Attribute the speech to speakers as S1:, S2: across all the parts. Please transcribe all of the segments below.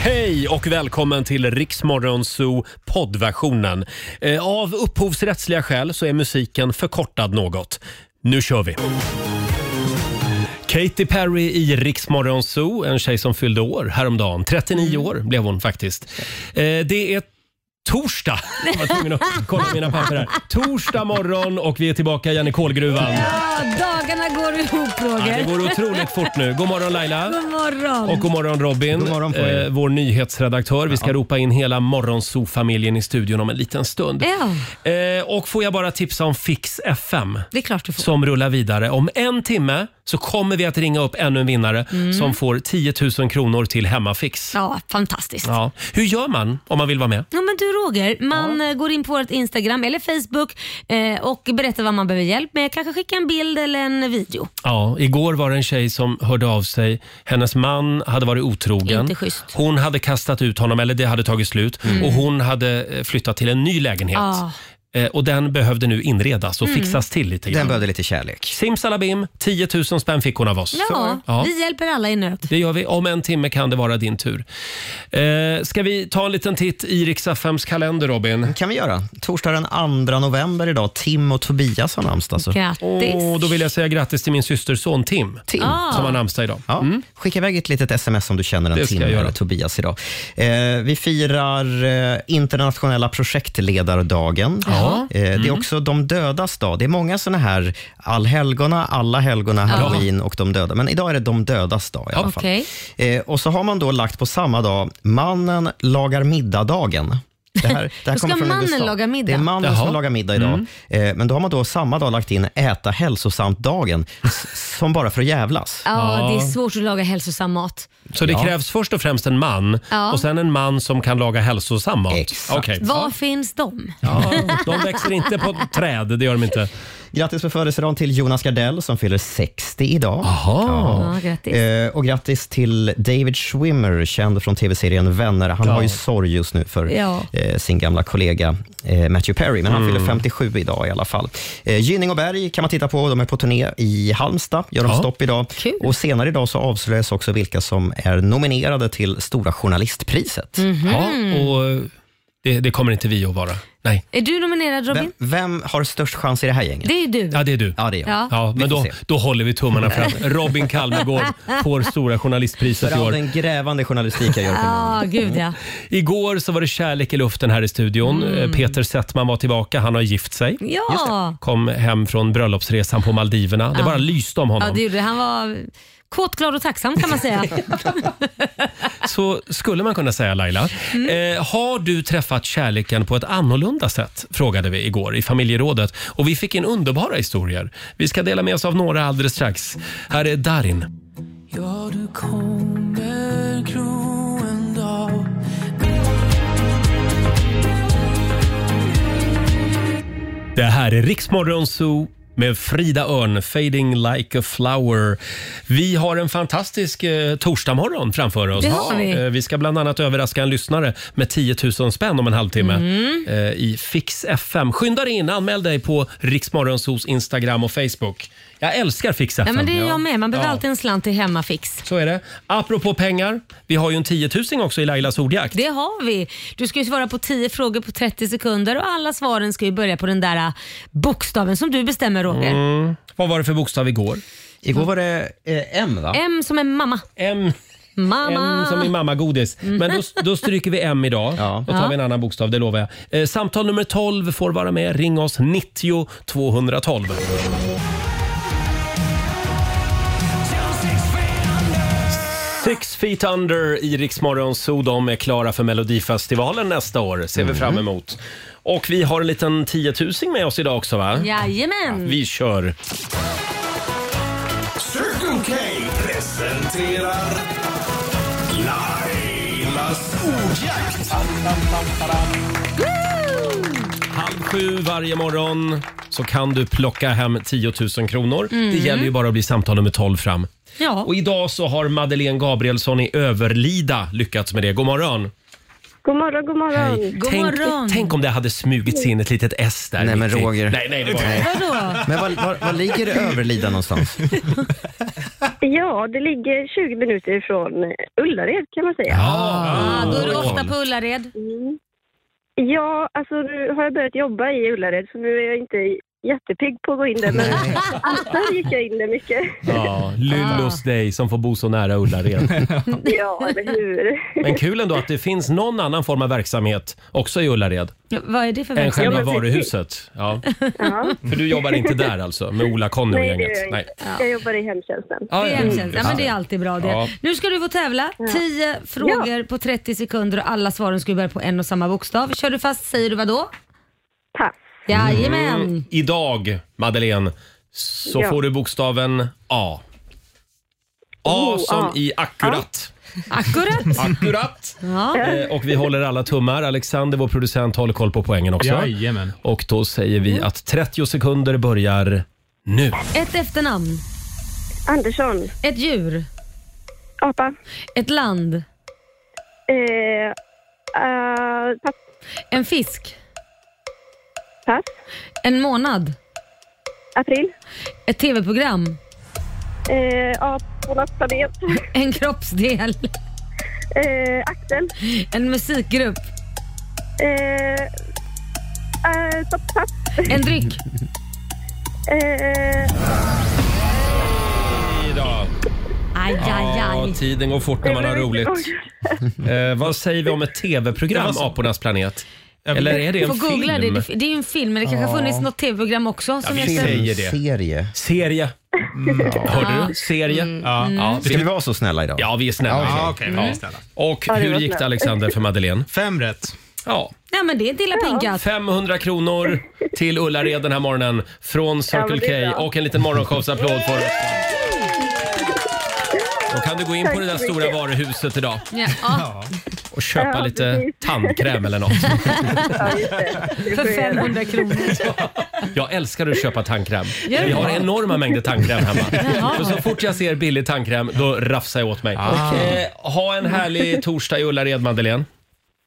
S1: Hej och välkommen till Riksmorgonzoo poddversionen. Eh, Av upphovsrättsliga skäl så är musiken förkortad något. Nu kör vi! Katy Perry i Riksmorgonzoo, en tjej som fyllde år häromdagen. 39
S2: Mm.
S1: år blev hon faktiskt. Eh, Det är torsdag. Jag var tvungen att kolla mina papper här. Torsdag morgon och vi är tillbaka igen i kolgruvan.
S2: Ja, dagarna går ihop
S1: Ja,
S2: Roger.
S1: det går otroligt fort nu. God morgon Laila.
S2: God morgon.
S1: Och god morgon Robin,
S3: God morgon på er.
S1: eh, vår nyhetsredaktör. Vi ska ropa in hela Morgonzoo-familjen i studion om en liten stund.
S2: Ja,
S1: Eh, och får jag bara tipsa om Fix FM
S2: det är klart du får.
S1: som rullar vidare. Om en timme så kommer vi att ringa upp ännu en vinnare som får 10 000 kronor till Hemmafix. Ja.
S2: Mm. Ja, fantastiskt.
S1: Hur gör man om man vill vara med?
S2: Ja, men du Roger, man eh, går in på vårt Instagram eller Facebook eh, och berättar vad man behöver hjälp med. Kanske skicka en bild eller en video.
S1: Ja, igår var det en tjej som hörde av sig. Hennes man hade varit otrogen.
S2: Inte schysst.
S1: Hon hade kastat ut honom, eller det hade tagit slut.
S2: Mm.
S1: Och hon hade eh, flyttat till en ny lägenhet.
S2: Ja.
S1: Eh, Och den behövde nu inredas
S2: Mm.
S1: och fixas till lite
S3: Den
S1: grann.
S3: behövde lite kärlek.
S1: Simsalabim, 10 000 spänn fick hon av oss.
S2: Ja,
S1: Ja.
S2: vi hjälper alla i nöd.
S1: Det gör vi. Om en timme kan det vara din tur. Eh, ska vi ta en liten titt i Rix FMs kalender, Robin?
S3: kan vi göra. Torsdag den 2 november idag. Tim och Tobias har namnsdag. Så.
S2: Grattis. Ah.
S1: Och då vill jag säga grattis till min systerson Tim,
S3: Tim.
S1: som har namnsdag idag. Mm.
S3: Ja. Skicka iväg ett litet sms om du känner
S1: Det
S3: en
S1: ska
S3: Tim
S1: jag göra.
S3: eller Tobias idag. Eh, vi firar eh, internationella projektledardagen.
S1: Ja.
S3: Eh, Det är också de dödas dag. Det är många såna här allhelgona, alla helgona, halloween och de döda. Men idag är det de dödas dag i alla fall.
S2: Okej.
S3: Eh, och så har man då lagt på samma dag, mannen lagar middag-dagen. Det här, det här
S2: Då ska
S3: kommer från
S2: mannen
S3: USA.
S2: laga middag?
S3: Det är mannen
S1: Jaha. Mm.
S3: som lagar middag idag. Eh, men då har man då samma dag lagt in äta hälsosamt-dagen, s- som bara för att jävlas.
S2: Ja, det är svårt att laga hälsosam mat.
S1: Så det
S3: Ja.
S1: krävs först och främst en man
S2: Ja.
S1: och sen en man som kan laga hälsosam mat.
S3: Exakt.
S1: Okej.
S2: Var finns de?
S1: Ja, de växer inte på träd, det gör de inte.
S3: Grattis på födelsedagen till Jonas Gardell som fyller 60 idag.
S1: Aha.
S2: Ja, grattis.
S3: Eh, och grattis till David Schwimmer, känd från tv-serien Vänner. Han har ju sorg just nu för
S2: Ja.
S3: eh, sin gamla kollega eh, Matthew Perry, men han
S1: Mm.
S3: fyller 57 idag i alla fall. Eh, Gynning och Berg kan man titta på. De är på turné i Halmstad, gör de
S1: Ja.
S3: stopp idag.
S2: Kul.
S3: Och senare idag så avslöjas också vilka som är nominerade till Stora Journalistpriset.
S2: Mhm.
S1: Ja, och det, det kommer inte vi att vara. Nej,
S2: Är du nominerad Robin?
S3: Vem, vem har störst chans i det här gänget?
S2: Det är ju du.
S1: ja, det är du.
S3: Ja, det är jag.
S2: Ja. Mm.
S1: Ja,
S3: Vi
S1: men
S3: får
S1: då,
S3: se.
S1: då håller vi tummarna fram. Robin Kalmegård får Stora Journalistpriset i
S3: För all
S1: år. Mm.
S3: den grävande journalistik jag gör. på
S2: Ja, gud ja. Mm.
S1: Igår så var det kärlek i luften här i studion. Eh, Peter Settman var tillbaka. Han har gift sig.
S2: Ja,
S1: Kom hem från bröllopsresan på Maldiverna. Det bara lyste om
S2: ja det
S1: honom.
S2: gjorde det. Han var kåt, glad och tacksam kan man säga.
S1: Så skulle man kunna säga Laila.
S2: Mm.
S1: Eh, har du träffat kärleken på ett annorlunda sätt? Frågade vi igår i familjerådet. Och vi fick in underbara historier. Vi ska dela med oss av några alldeles strax. Här är Darin.
S4: Ja, du kommer gro en dag
S1: Det här är Riksmorgon Zoo med Frida Örn, Fading like a flower. Vi har en fantastisk eh, torsdagmorgon framför oss.
S2: Det har vi.
S1: Eh, vi ska bland annat överraska en lyssnare med 10 000 spänn om en halvtimme
S2: Mm.
S1: eh, i Fix FM. Skynda dig in, anmäl dig på Riksmorgonsos Instagram och Facebook. Jag älskar Fix FM.
S2: Ja, men det är jag med. Man behöver
S1: Ja.
S2: alltid en slant till hemmafix.
S1: Så är det. Apropå pengar, vi har ju en 10 000 också i Lailas ordjakt.
S2: Det har vi. Du ska ju svara på 10 frågor på 30 sekunder och alla svaren ska ju börja på den där äh, bokstaven som du bestämmer Roger.
S1: Mm. Vad var det för bokstav igår?
S3: Igår var det eh, M, va?
S2: M som är mamma.
S1: M.
S2: Mamma.
S1: M som i mammagodis. Men då, då stryker vi M idag.
S3: Ja.
S1: Då tar
S2: Ja.
S1: vi en annan bokstav, det lovar jag. Eh, samtal nummer 12 får vara med. Ring oss 90 212. Six feet under i Rix Morgon Zoo. De är klara för Melodifestivalen nästa år. Ser vi fram emot. Och vi har en liten 10 000 med oss idag också va?
S2: Jajamän.
S1: Vi kör!
S5: Circle K presenterar Lailas ordjakt.
S1: Halv sju varje morgon så kan du plocka hem 10 000 kronor. Det gäller ju bara att bli samtal nummer 12 fram.
S2: Mm. Ja.
S1: Och idag så har Madeleine Gabrielsson i Överlida lyckats med det. God morgon!
S6: God morgon, god morgon.
S1: Hej.
S2: God
S1: tänk,
S2: morgon.
S1: tänk om det hade smugit sig in ett litet S där.
S3: Nej, men
S1: mitt i.
S3: Roger.
S1: Nej, nej, det var det.
S2: Vadå?
S3: Men var, var, var ligger Överlida någonstans?
S6: Ja, det ligger 20 minuter ifrån eh, Ullared kan man säga. Ja,
S1: Ah,
S2: Ah, då är du
S1: bra
S2: ofta
S1: koll.
S2: på Ullared.
S6: Mm. alltså nu har jag börjat jobba i Ullared så nu är jag inte jättepigg på att gå in där men där gick jag in där mycket.
S1: Ja, Lyllos dig som får bo så nära Ullared.
S6: Ja, eller hur?
S1: Men kul ändå att det finns någon annan form av verksamhet också i Ullared
S2: Ja, Vad är det för
S1: än
S2: verksamhet?
S1: själva
S6: Ja, men precis.
S1: varuhuset. Ja.
S6: Ja.
S1: För du jobbar inte där alltså med Ola-Conny och
S6: Nej, det
S1: gänget?
S6: gör jag inte. Jag jobbar i hemtjänsten.
S1: Ja,
S2: Det
S1: ja,
S2: är hemtjänst. Ja, men det är alltid bra det.
S1: Ja.
S2: Nu ska du få tävla. 10 frågor på 30 sekunder och alla svaren ska börja på en och samma bokstav. Kör du fast säger du vad då?
S6: Pass.
S2: Jajamän.
S1: Mm. Idag, Madeleine, så
S6: Ja.
S1: får du bokstaven A. A
S6: Oh,
S1: som
S6: A.
S1: i akkurat.
S2: Akkurat.
S1: Akkurat.
S2: Ja.
S1: Eh, Och vi håller alla tummar. Alexander, vår producent, håller koll på poängen också.
S7: Jajamän.
S1: Och då säger vi att 30 sekunder börjar nu.
S2: Ett efternamn.
S6: Andersson.
S2: Ett djur.
S6: Apa.
S2: Ett land.
S6: Eh, eh, pass.
S2: En fisk.
S6: pass.
S2: En månad.
S6: April.
S2: Ett tv-program.
S6: Eh, Apornas planet.
S2: En kroppsdel.
S6: Eh, axel.
S2: En musikgrupp.
S6: Eh, eh, stopp, pass.
S2: En dryck.
S6: Eh,
S1: Idag.
S2: Aj, aj,
S1: Ja, typ.
S2: aj.
S1: tiden går fort när man har roligt. Eh, vad säger vi om ett tv-program, Apornas planet? Eller är det
S2: Du
S1: en
S2: får googla det.
S1: film?
S2: Det- Det är ju en film, men det kanske har funnits något tv-program också. Som
S1: vi
S2: heter-
S1: säger- Säger det.
S3: Serie.
S1: Serie. Hörde du? Serie.
S6: Mm.
S7: Ja.
S1: Ja,
S3: Ska vi
S1: det-
S3: vara så snälla idag?
S1: ja, vi är snälla.
S7: Ja, okej. vi är snälla.
S1: Och
S6: det
S1: hur
S6: var
S1: gick det
S6: snällt.
S1: Alexander för Madeleine?
S7: Fem rätt.
S1: Ja,
S2: Nej, men det är Dilla Pinkat.
S1: 500 kronor till Ullared den här morgonen från
S6: Ja, men det
S1: Circle
S6: är
S1: K
S6: bra.
S1: och en liten morgonshowsapplåd för oss. Då kan du gå in på det där
S6: Tack så
S1: stora
S6: mycket.
S1: varuhuset idag
S2: Ja, ja,
S1: och köpa
S6: Ja,
S1: lite
S6: precis.
S1: tandkräm eller något.
S6: ja, just det. Det får
S2: för
S6: jag göra.
S2: 500 kronor.
S1: Jag älskar att köpa tandkräm.
S2: Gör du
S1: Vi har
S2: det?
S1: enorma mängder tandkräm hemma.
S2: Jaha.
S1: För så fort jag ser billig tandkräm, då rafsar jag åt mig. Eh, ha en härlig torsdag i Ullared, Madeleine.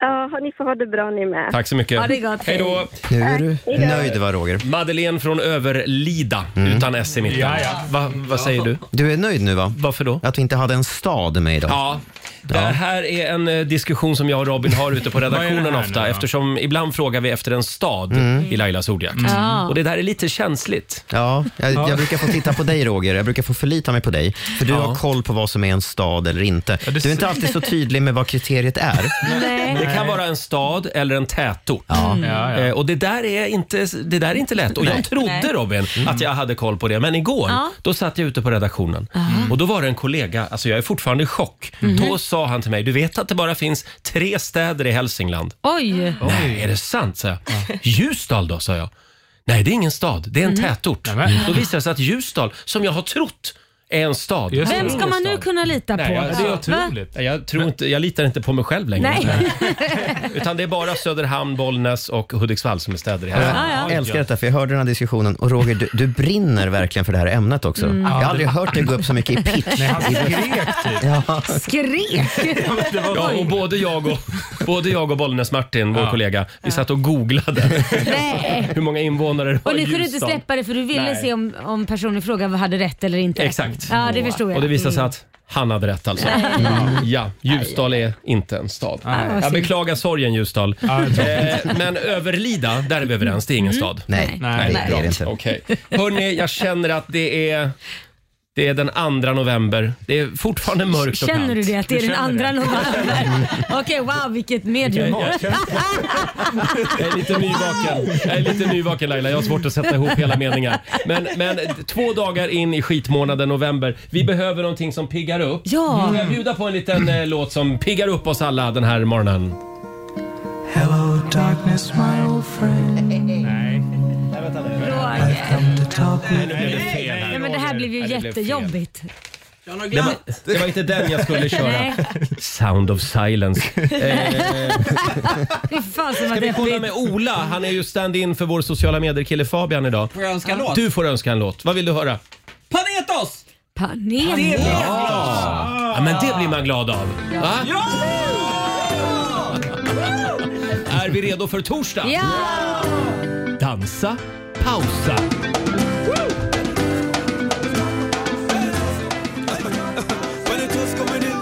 S6: Ja, ni får ha det bra ni med.
S1: Tack så mycket.
S2: Ha det gott.
S1: Hej då.
S3: Nu är du nöjd va Roger?
S1: Madeleine från Överlida, utan S i mitten.
S7: Mm. Ja, ja.
S1: Va, vad säger du?
S3: Du är nöjd nu va?
S1: Varför då?
S3: Att vi inte hade en stad med idag.
S1: Ja. Det här är en eh, diskussion som jag och Robin har ute på
S7: Vad är
S1: redaktionen
S7: det här
S1: ofta
S7: nu då? Mm.
S1: eftersom ibland frågar vi efter en stad i Lailas ordjakt. Och det där är lite känsligt.
S3: Ja, jag, jag brukar få titta på dig Roger, jag brukar få förlita mig på dig. För du har koll på vad som är en stad eller inte.
S7: det
S3: Du är inte alltid så tydlig med vad kriteriet är.
S1: Det kan vara en stad eller en tätort.
S7: Ja, ja.
S1: Eh, Och det där, är inte, det där är inte lätt. Och jag trodde Robin att jag hade koll på det. Men igår,
S2: Mm. Ja.
S1: då satt jag ute på redaktionen. Och då var det en kollega, alltså jag är fortfarande i chock.
S2: Mhm.
S1: Då sa han till mig, du vet att det bara finns tre städer i Hälsingland.
S2: Oj.
S1: Nej, är det sant? sa jag. Ljusdal då, sa jag. Nej, det är ingen stad. Det är
S2: Mhm.
S1: en tätort.
S7: Nämen.
S1: Då visade det sig att Ljusdal, som jag har trott är en stad.
S7: Just
S2: Vem ska man nu kunna lita på?
S1: Nej, jag-
S7: Det är
S2: Va?
S7: otroligt.
S1: Nej, Jag, tror inte, jag litar inte på mig själv längre.
S2: Nej.
S1: Utan det är bara Söderhamn, Bollnäs och Hudiksvall som är städer i
S3: Jag
S1: Hälsingland.
S2: ja.
S3: älskar detta, för jag hörde den här diskussionen och Roger, du, du brinner verkligen för det här ämnet också.
S2: Mm.
S3: Jag har aldrig hört dig gå upp så mycket i pitch.
S7: Nej, han skrek typ.
S2: Skrek.
S1: Ja, och både jag och, både jag och Bollnäs-Martin, vår kollega, vi satt och googlade
S2: Nej.
S1: hur många invånare det var
S2: Och
S1: i
S2: ni kunde inte
S1: Ljusdal.
S2: släppa det för du ville
S1: Nej.
S2: se om, om personen i fråga hade rätt eller inte.
S1: Exakt.
S2: Ja, det förstår jag. Mm.
S1: Och det visade sig att han hade rätt alltså. Ja, Ljusdal är inte en stad.
S2: vad
S1: Jag
S2: synd.
S1: beklagar sorgen Ljusdal.
S7: Ja, jag tror-
S1: Eh, Men Överlida, där är vi överens. Det är
S2: Mm.
S1: ingen stad.
S3: Nej,
S7: Nej.
S3: nej, det är det inte.
S1: Okej. Hörni, jag känner att det är, det är den 2 november. Det är fortfarande mörkt och
S2: Känner
S1: kallt.
S2: du det? Att det är den
S7: känner
S2: andra november? Okej, wow vilket medium.
S1: Jag, jag, jag är lite nyvaken. Jag är lite nyvaken Laila. Jag har svårt att sätta ihop hela meningar. Men, men två dagar in i skitmånaden november. Vi behöver någonting som piggar upp.
S2: Ja.
S1: Får jag bjuda på en liten eh, låt som piggar upp oss alla den här morgonen?
S4: Hello darkness my old friend
S2: Roger.
S4: Come to talk with
S1: Nej,
S2: Nej, men det här blev ju
S1: det blev fel. eh,
S2: jättejobbigt.
S1: Det var, det var inte den jag skulle köra.
S2: Nej,
S1: Sound of silence.
S2: fy fan som var
S1: Ska vi kolla
S2: deppigt.
S1: med Ola? Han är ju stand-in för vår sociala medier-kille Fabian idag.
S8: Får jag önska en låt?
S1: Du får önska en låt. Vad vill du höra?
S8: Panetos!
S2: Panel.
S1: Ja, men det blir man glad av. Va?
S8: Ja!
S1: Är vi redo för torsdag?
S2: Ja!
S1: Dansa, pausa.
S5: Men en tuss kommer nu.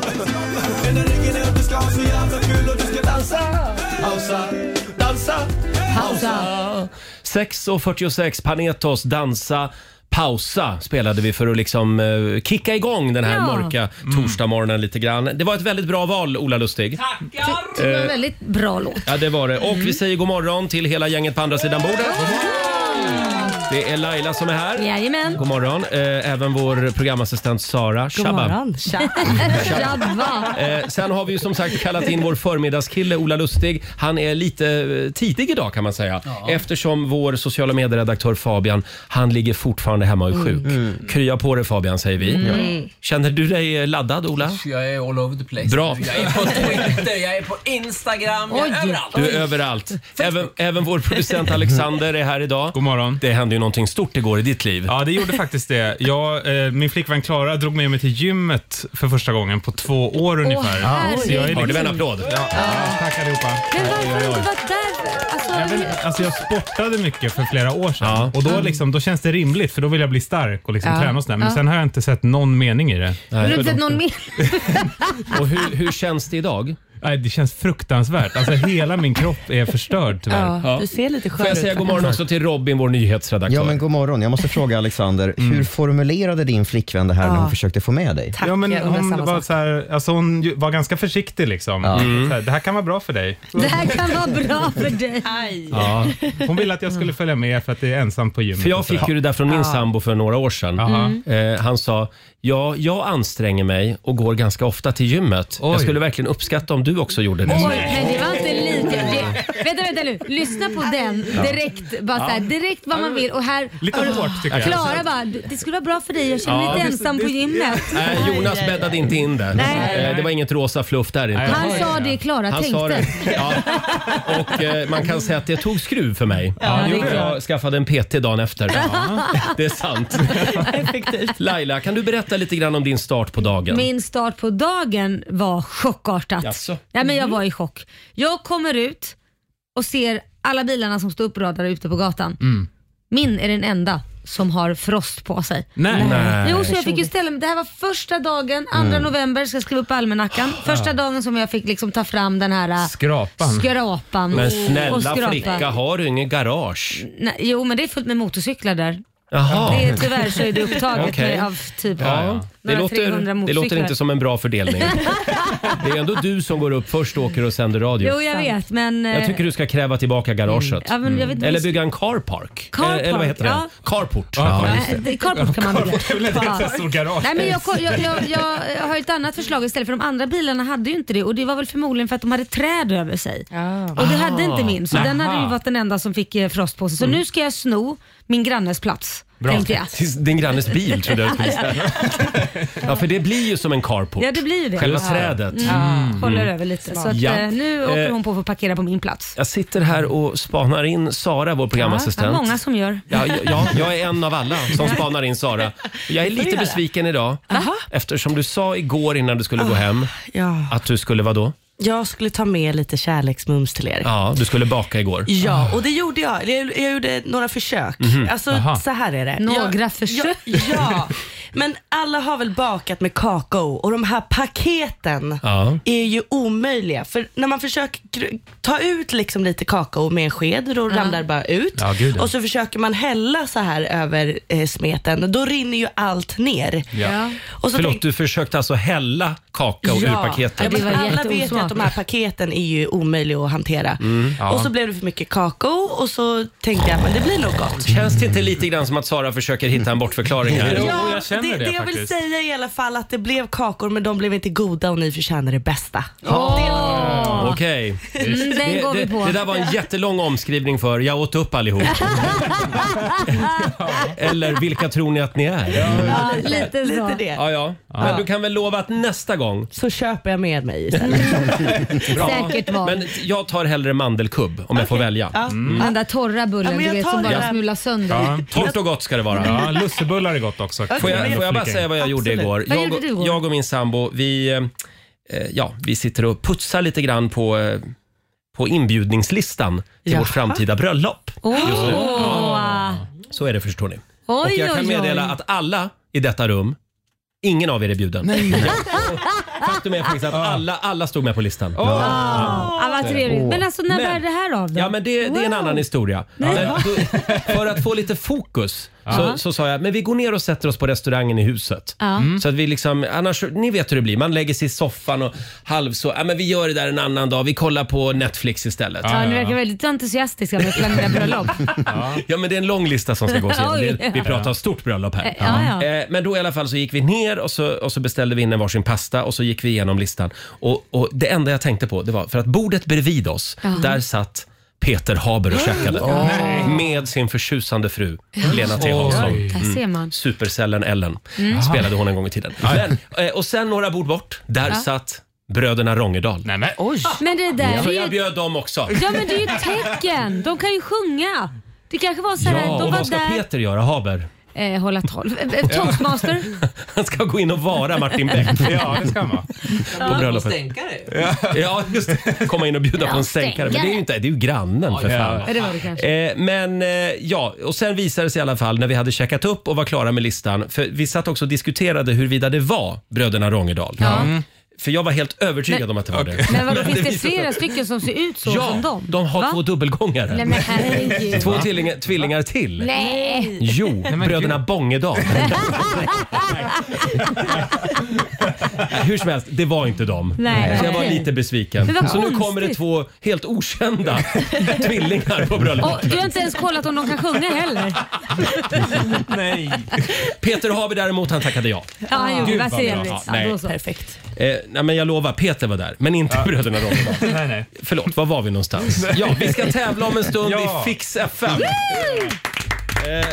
S5: Hela ryggen är att du ska ha så jävla kul och du ska dansa. Pausa, dansa, pausa.
S1: 6.46, Panetos, dansa, pausa spelade vi för att liksom eh, kicka igång den här
S2: Ja.
S1: mörka torsdagsmorgonen lite grann. Det var ett väldigt bra val, Ola Lustig.
S2: Det var en väldigt bra låt.
S1: Ja, det var det. Och vi säger god morgon till hela gänget på andra sidan bordet. Det är Laila som är här.
S2: Jajamän.
S1: God morgon. Eh, Även vår programassistent Sara Shabba.
S2: Jabba.
S1: Eh, Sen har vi ju som sagt kallat in vår förmiddagskille Ola Lustig. Han är lite eh, tidig idag kan man säga. Eftersom vår sociala medieredaktör Fabian, han ligger fortfarande hemma och är sjuk. Krya på dig Fabian säger vi. Känner du dig eh, laddad Ola?
S8: Jag är all over the place.
S1: Bra.
S8: Jag är på Twitter, jag är på Instagram, jag är överallt.
S1: Du är överallt. Även, även vår producent Alexander är här idag.
S7: God morgon.
S1: Det hände ju någonting stort igår i ditt liv.
S7: Ja, det gjorde faktiskt det. Jag, eh, min flickvän Klara drog med mig till gymmet för första gången på två år ungefär. Så jag
S1: Hörde
S7: är
S1: vi en
S7: liksom...
S1: applåd?
S7: Tack allihopa.
S2: Men varför har du inte varit där?
S7: Jag,
S2: Alltså,
S7: vet, alltså jag sportade mycket för flera år sedan
S1: Ja.
S7: och
S2: Mm.
S7: då, liksom, då känns det rimligt för då vill jag bli stark och liksom
S9: Ja.
S7: träna och sådär. Men
S9: Ja.
S7: sen har jag inte sett någon mening i det.
S2: har du inte sett någon mer?
S1: Och hur, hur känns det idag?
S7: Nej, det känns fruktansvärt. Alltså hela min kropp är förstörd tyvärr.
S9: Ja, du ser lite skör
S1: Får jag
S9: ut.
S1: säga god morgon också till Robin, vår nyhetsredaktör? Mm.
S3: Ja, men god morgon. Jag måste fråga Alexander, hur formulerade din flickvän det här när
S9: Ja.
S3: hon försökte få med dig?
S9: Tack,
S7: Ja, men
S9: jag undrar
S7: hon,
S9: samma
S7: var
S9: sak.
S7: så här, alltså hon ju- var ganska försiktig. liksom. Så
S1: Mm.
S7: här, det här kan vara bra för dig.
S2: Det här kan vara bra för dig.
S1: Ja.
S7: Hon ville att jag skulle följa med för att det är ensamt på gymmet.
S1: För jag
S7: och så där.
S1: fick ju det där från min sambo för några år sedan.
S7: Jaha.
S1: Eh, han sa, ja, jag anstränger mig och går ganska ofta till gymmet. Jag
S7: Oj.
S1: skulle verkligen uppskatta om du också gjorde det.
S2: Oj, men det var inte lika. Det, vänta, vänta nu. Lyssna på den direkt. Bara så här, direkt vad man vill. Och här...
S7: Lite hårt tycker jag.
S2: Klara bara, det skulle vara bra för dig. Jag känner mig lite ensam på gymmet.
S1: Nej, Jonas bäddade inte in det.
S2: Nej.
S1: Eh, det var inget rosa fluff där inte.
S7: Nej.
S2: Han
S7: Oj.
S2: sa det Klara
S1: Han
S2: tänkte.
S1: sa det. Ja. Och eh, man kan säga att det tog skruv för mig.
S9: det är
S1: jag skaffade en PT dagen efter. Det är sant. Laila, kan du berätta lite grann om din start på dagen?
S2: Min start på dagen var chockartat.
S1: Jaså?
S2: Nej, men jag var i chock. Jag kommer ut och ser alla bilarna som står uppradade ute på gatan.
S10: Mm.
S1: Mm.
S2: Min är den enda som har frost på sig.
S7: Nej.
S1: Nej. Mm.
S2: Jo, så jag fick ju ställa mig. Det här var första dagen, 2 november, ska jag skriva upp almanackan. Första dagen som jag fick liksom ta fram den här äh,
S7: Skrapan.
S2: skrapan.
S1: Men
S2: och
S1: snälla
S2: skrapa.
S1: flicka, har du ingen garage?
S2: Nej, jo, men det är fullt med motorcyklar där.
S1: Jaha.
S2: Det är, tyvärr så är det upptaget
S1: Okej.
S2: med, av typ
S1: Ja, det,
S2: några 300
S1: låter, det
S2: motorcyklar.
S1: låter inte som en bra fördelning. Det är ändå du som går upp först och åker och sänder radio.
S2: Jo, jag vet, men...
S1: Jag
S2: eh,
S1: tycker du ska kräva tillbaka garaget.
S2: Mm.
S1: Mm.
S2: ja, men jag vet,
S1: Eller bygga en carpark. Eh,
S2: Carpark,
S1: eller vad heter det?
S2: ja.
S1: Carport.
S7: Ja.
S2: Nej, det- Carport kan man bygga.
S7: Det är väl inte ett så stort garage.
S2: Nej, men jag, jag, jag, jag har ett annat förslag istället för de andra bilarna hade ju inte det och det var väl förmodligen för att de hade träd över sig.
S9: Ah.
S2: Och det hade inte min så den hade ju varit den enda som fick eh, frost på sig. Så nu ska jag sno min grannes plats tänkte jag.
S1: Tills Din grannes bil trodde jag du skulle säga. Ja, för det blir ju som en carport.
S2: Ja det blir ju det. Mm.
S1: Själva trädet.
S2: Håller över lite. Så att,
S1: Ja.
S2: eh, nu
S1: Eh.
S2: åker hon på för att parkera på min plats.
S1: Jag sitter här och spanar in Sara, vår
S2: Det är
S1: programassistent.
S2: många som gör.
S1: Ja, ja, ja, jag är en av alla som spanar in Sara. Jag är lite besviken idag eftersom du sa igår innan du skulle
S2: Ah,
S1: gå hem
S9: Ja.
S1: att du skulle vad då?
S9: Jag skulle ta med lite kärleksmums till er.
S1: Ja, du skulle baka igår.
S9: Ja, och det gjorde jag. Eller Jag, jag gjorde några försök.
S1: Mhm.
S9: Alltså, så här är det.
S2: Några
S9: jag,
S2: försök?
S9: Jag, ja, men alla har väl bakat med kakao och de här paketen
S1: Ja.
S9: är ju omöjliga. För när man försöker gr- ta ut liksom lite kakao med en sked, då ramlar det bara ut.
S7: Ja, gud, ja.
S9: Och så försöker man hälla så här över eh, smeten, då rinner ju allt ner.
S7: Ja.
S9: Och så
S1: Förlåt,
S9: tänk-
S1: du försökte alltså hälla kakao ur
S9: Ja,
S1: paketet?
S2: Det
S9: men
S2: var
S9: alla vet ju att
S2: jätteosmakligt.
S9: de här paketen är ju omöjliga att hantera.
S7: Mm.
S9: Och så blev det för mycket kakao och så tänkte jag men det blir nog gott.
S1: Känns det inte lite grann som att Sara försöker hitta en bortförklaring här?
S7: Jo, jag känner det
S9: det jag vill
S7: faktiskt.
S9: säga i alla fall att det blev kakor men de blev inte goda och ni förtjänar det bästa.
S1: Ah, Okej.
S2: Mm, den
S1: Det,
S2: går
S1: det,
S2: vi
S1: det
S2: på.
S1: där var en jättelång omskrivning för “jag åt upp allihop”. Eller “vilka tror ni att ni är?”
S2: Ja, lite
S9: Lite
S2: så.
S9: det.
S1: Ja, ja. Men du kan väl lova att nästa gång...
S9: Så köper jag med mig istället.
S2: Säkert var.
S1: Men jag tar hellre mandelkubb om jag får välja. Mm.
S9: Ja.
S2: Mm. Den där torra bullen
S9: Ja, men
S2: du
S9: jag
S2: vet som
S9: tar
S2: bara
S9: den.
S2: smulas sönder.
S7: Ja.
S1: Torrt och gott ska det vara.
S7: Mm. Ja, lussebullar är gott också.
S1: Får jag, får jag bara
S7: Flika in.
S1: säga vad jag gjorde
S9: Absolut.
S1: igår?
S2: Vad
S1: jag,
S2: gjorde
S1: och-
S2: du igår?
S1: jag och min sambo, vi, eh, ja, vi sitter och putsar lite grann på eh, på inbjudningslistan till
S2: Jaha.
S1: vårt framtida bröllop. just nu.
S2: Åh.
S1: Så är det förstår ni.
S2: Oj,
S1: och jag kan
S2: oj, oj.
S1: meddela att alla i detta rum, ingen av er är bjuden. Faktum är faktiskt att alla, alla stod med på listan. Ah.
S2: Ja, vad trevligt. Men alltså när bär det här av då?
S1: Ja, men det, det är en
S2: Wow.
S1: annan historia.
S2: Nej.
S1: Men då, för att få lite fokus så,
S2: Ja.
S1: så sa jag, men vi går ner och sätter oss på restaurangen i huset.
S2: Ja. Mm.
S1: Så att vi liksom, annars, ni vet hur det blir, man lägger sig i soffan och halv så, ja men vi gör det där en annan dag, vi kollar på Netflix istället.
S2: Ja, ni verkar väldigt entusiastiska med att planera bröllop.
S1: Ja, men det är en lång lista som ska gås igenom.
S2: Oj.
S1: Vi, vi pratar stort bröllop här.
S2: Ja, ja.
S1: Eh, Men då i alla fall så gick vi ner och så, och så beställde vi in en varsin pasta och så gick vi igenom listan. Och, och det enda jag tänkte på det var, för att bordet bredvid oss,
S2: Ja.
S1: där satt Peter Haber och käkade.
S2: Åh.
S1: Med sin förtjusande fru
S2: Ja.
S1: Lena T Hansson. Mm.
S2: Oj. Där ser man.
S1: Supercellen Ellen
S2: Mm.
S1: spelade hon en gång i tiden. Men, eh, och sen några bord bort, där
S2: Ja.
S1: satt bröderna Rongedal. Nej, men.
S2: Men det där
S1: Så
S2: är
S1: jag
S2: ju...
S1: bjöd dem också.
S2: Ja men det är ju ett tecken. De kan ju sjunga. Det kanske var så här,
S1: Ja,
S2: de
S1: och
S2: var
S1: vad ska
S2: där...
S1: Peter göra, Haber?
S2: Eh, hålla tolv. Eh, eh, Toastmaster.
S1: Han ska gå in och vara Martin Beck.
S2: Ja,
S1: det ska han vara.
S2: Ja.
S1: På bröllopet. Ja. ja, just det. Komma in och bjuda på en sänkare. Men det är ju, inte, det är ju grannen för fan.
S2: Ja, det var det kanske.
S1: Eh, men eh, ja, och sen visade det sig i alla fall när vi hade checkat upp och var klara med listan. För vi satt också och diskuterade huruvida det var bröderna Rongedal.
S2: Ja. Mm.
S1: För jag var helt övertygad
S2: Men-
S1: om att det var det.
S2: Men vadå, finns det
S1: visade sig-
S2: flera stycken som ser ut så
S1: Ja,
S2: som dem?
S1: de har
S2: Va?
S1: två dubbelgångare.
S2: Nej, men herregud.
S1: två tvillingar, tvillingar till.
S2: Nej!
S1: Jo, bröderna Bångedal. Hur som helst, det var inte dem.
S2: Nej.
S1: Så jag var lite besviken.
S2: Men vad
S1: Så nu
S2: konstigt.
S1: kommer det två helt okända tvillingar på
S2: Och
S1: bröllopet.
S2: du har inte ens kollat om de kan sjunga heller.
S1: Nej. Peter Haber däremot, han tackade ja.
S2: Ja, han gjorde
S1: Gud,
S2: det. Vad
S1: vad bra.
S2: trevligt.
S1: Ja, nej.
S2: Ja, då så. Perfekt.
S1: Eh, nej men jag lovar, Peter var där, men inte bröderna Rongedal. nej, nej. Förlåt, var var vi någonstans? Ja, vi ska tävla om en stund
S5: Ja.
S1: i Fix FM. Eh,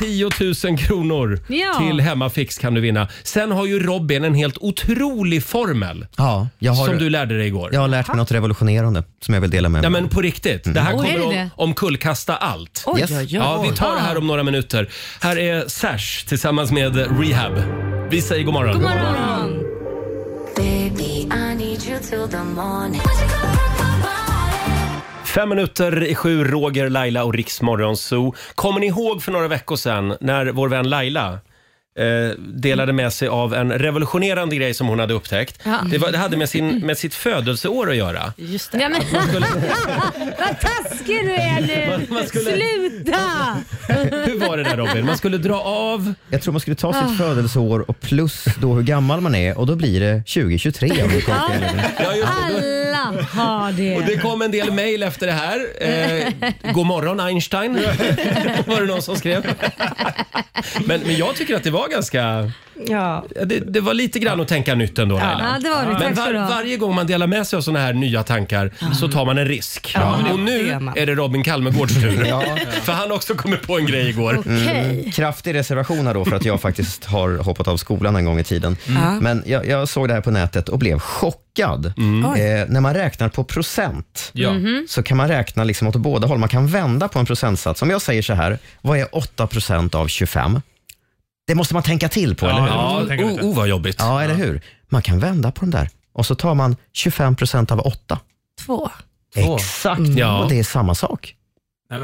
S1: 10 000 kronor
S5: Ja.
S1: till Hemmafix kan du vinna. Sen har ju Robin en helt otrolig formel.
S3: Ja, jag har,
S1: Som du lärde dig igår.
S3: Jag har lärt mig något revolutionerande som jag vill dela med mig
S1: Nej
S3: av.
S1: men på riktigt, det här
S3: Oj,
S1: kommer
S3: Mm. är det
S1: om,
S3: det?
S1: omkullkasta allt.
S3: Oj, Yes. oj, oj.
S1: Ja, vi tar det här om några minuter. Här är Sash tillsammans med Rehab. Vi säger god morgon.
S10: Baby, I need you till the morning.
S1: Fem minuter i sju, Roger, Laila och Riksmorgon Zoo. Kommer ni ihåg för några veckor sedan när vår vän Laila eh, delade med sig av en revolutionerande grej som hon hade upptäckt.
S2: Ja.
S1: Det, var, det hade med, sin, med sitt födelseår att göra.
S2: Just det. Ja, men, vad taskig du är nu!
S1: Man- man skulle-
S2: Sluta!
S1: Hur var det där Robin? Man skulle dra av...
S3: Jag tror man skulle ta sitt
S2: Ah.
S3: födelseår och plus då hur gammal man är och då blir det 2023 om det är korkat eller inte.
S2: Alla har det.
S1: Och det kom en del mejl efter det här. Eh, God morgon Einstein, var det någon som skrev. Men, men jag tycker att det var ganska...
S9: Ja.
S1: Det, det var lite grann att tänka nytt ändå
S9: Ja.
S1: Laila.
S9: Ja, det var det.
S1: Men
S9: Tack ska du ha.
S1: varje gång man delar med sig av såna här nya tankar så tar man en risk.
S3: Ja,
S1: Och nu
S3: det gör man.
S1: är det Robin Kalmegårds tur.
S3: Ja.
S1: För han har också kommit på en grej igår.
S3: Mm, kraftig reservation här då för att jag faktiskt har hoppat av skolan en gång i tiden.
S1: Mm. Ja.
S3: Men jag, jag såg det här på nätet och blev chockad.
S1: Oj.
S3: Eh, när man räknar på procent
S1: Mm. Ja.
S2: Mm-hmm.
S1: Mhm.
S3: så kan man räkna liksom åt båda håll. Man kan vända på en procentsats. Om jag säger så här, vad är 8 procent av 25? Det måste man tänka till på,
S1: Ja,
S3: eller hur?
S1: ja, tänka lite. Oh, oh, vad jobbigt.
S3: Ja, eller hur? Man kan vända på den där och så tar man 25 procent av 8.
S9: Två.
S3: Exakt,
S1: Ja.
S3: och det är samma sak.
S1: Så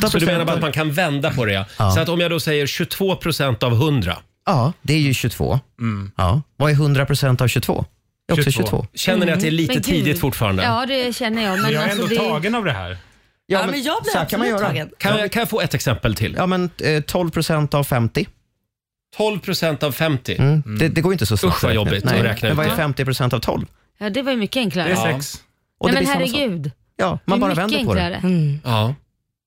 S1: du
S3: 8%
S1: menar bara att man kan vända på det ja.
S3: Ja.
S1: Så att om jag då säger 22 procent av 100.
S3: Ja, det är ju 22.
S1: Mm.
S3: Ja. Vad är 100 procent av 22? Det är också 22.
S1: Känner ni att det är lite
S2: Mm. Men gud.
S1: tidigt fortfarande?
S2: Ja, det känner jag. Men
S1: Jag är
S2: alltså,
S1: ändå
S2: det...
S1: tagen av det här.
S3: Ja,
S2: men
S3: men
S2: jag blir
S3: så här kan man
S2: absolut
S3: göra.
S2: tagen.
S1: Kan, jag- kan jag få ett exempel till?
S3: Ja, men eh, 12 procent av 50.
S1: 12 procent av 50.
S3: Mm. Det, det går ju inte så snabbt.
S1: Usch, vad
S3: att räkna
S1: jobbigt
S3: ut.
S1: att
S3: Nej.
S1: räkna
S3: Men
S1: ut
S3: vad
S1: det.
S3: är 50 procent av 12?
S2: Ja, det var ju mycket enklare.
S3: Det är sex.
S2: Ja.
S3: Och det
S2: Nej, men
S3: blir samma sak.
S2: herregud.
S3: Ja, man
S2: Det är
S3: bara
S2: mycket
S3: vänder på det. Mm.
S2: enklare.
S1: Ja.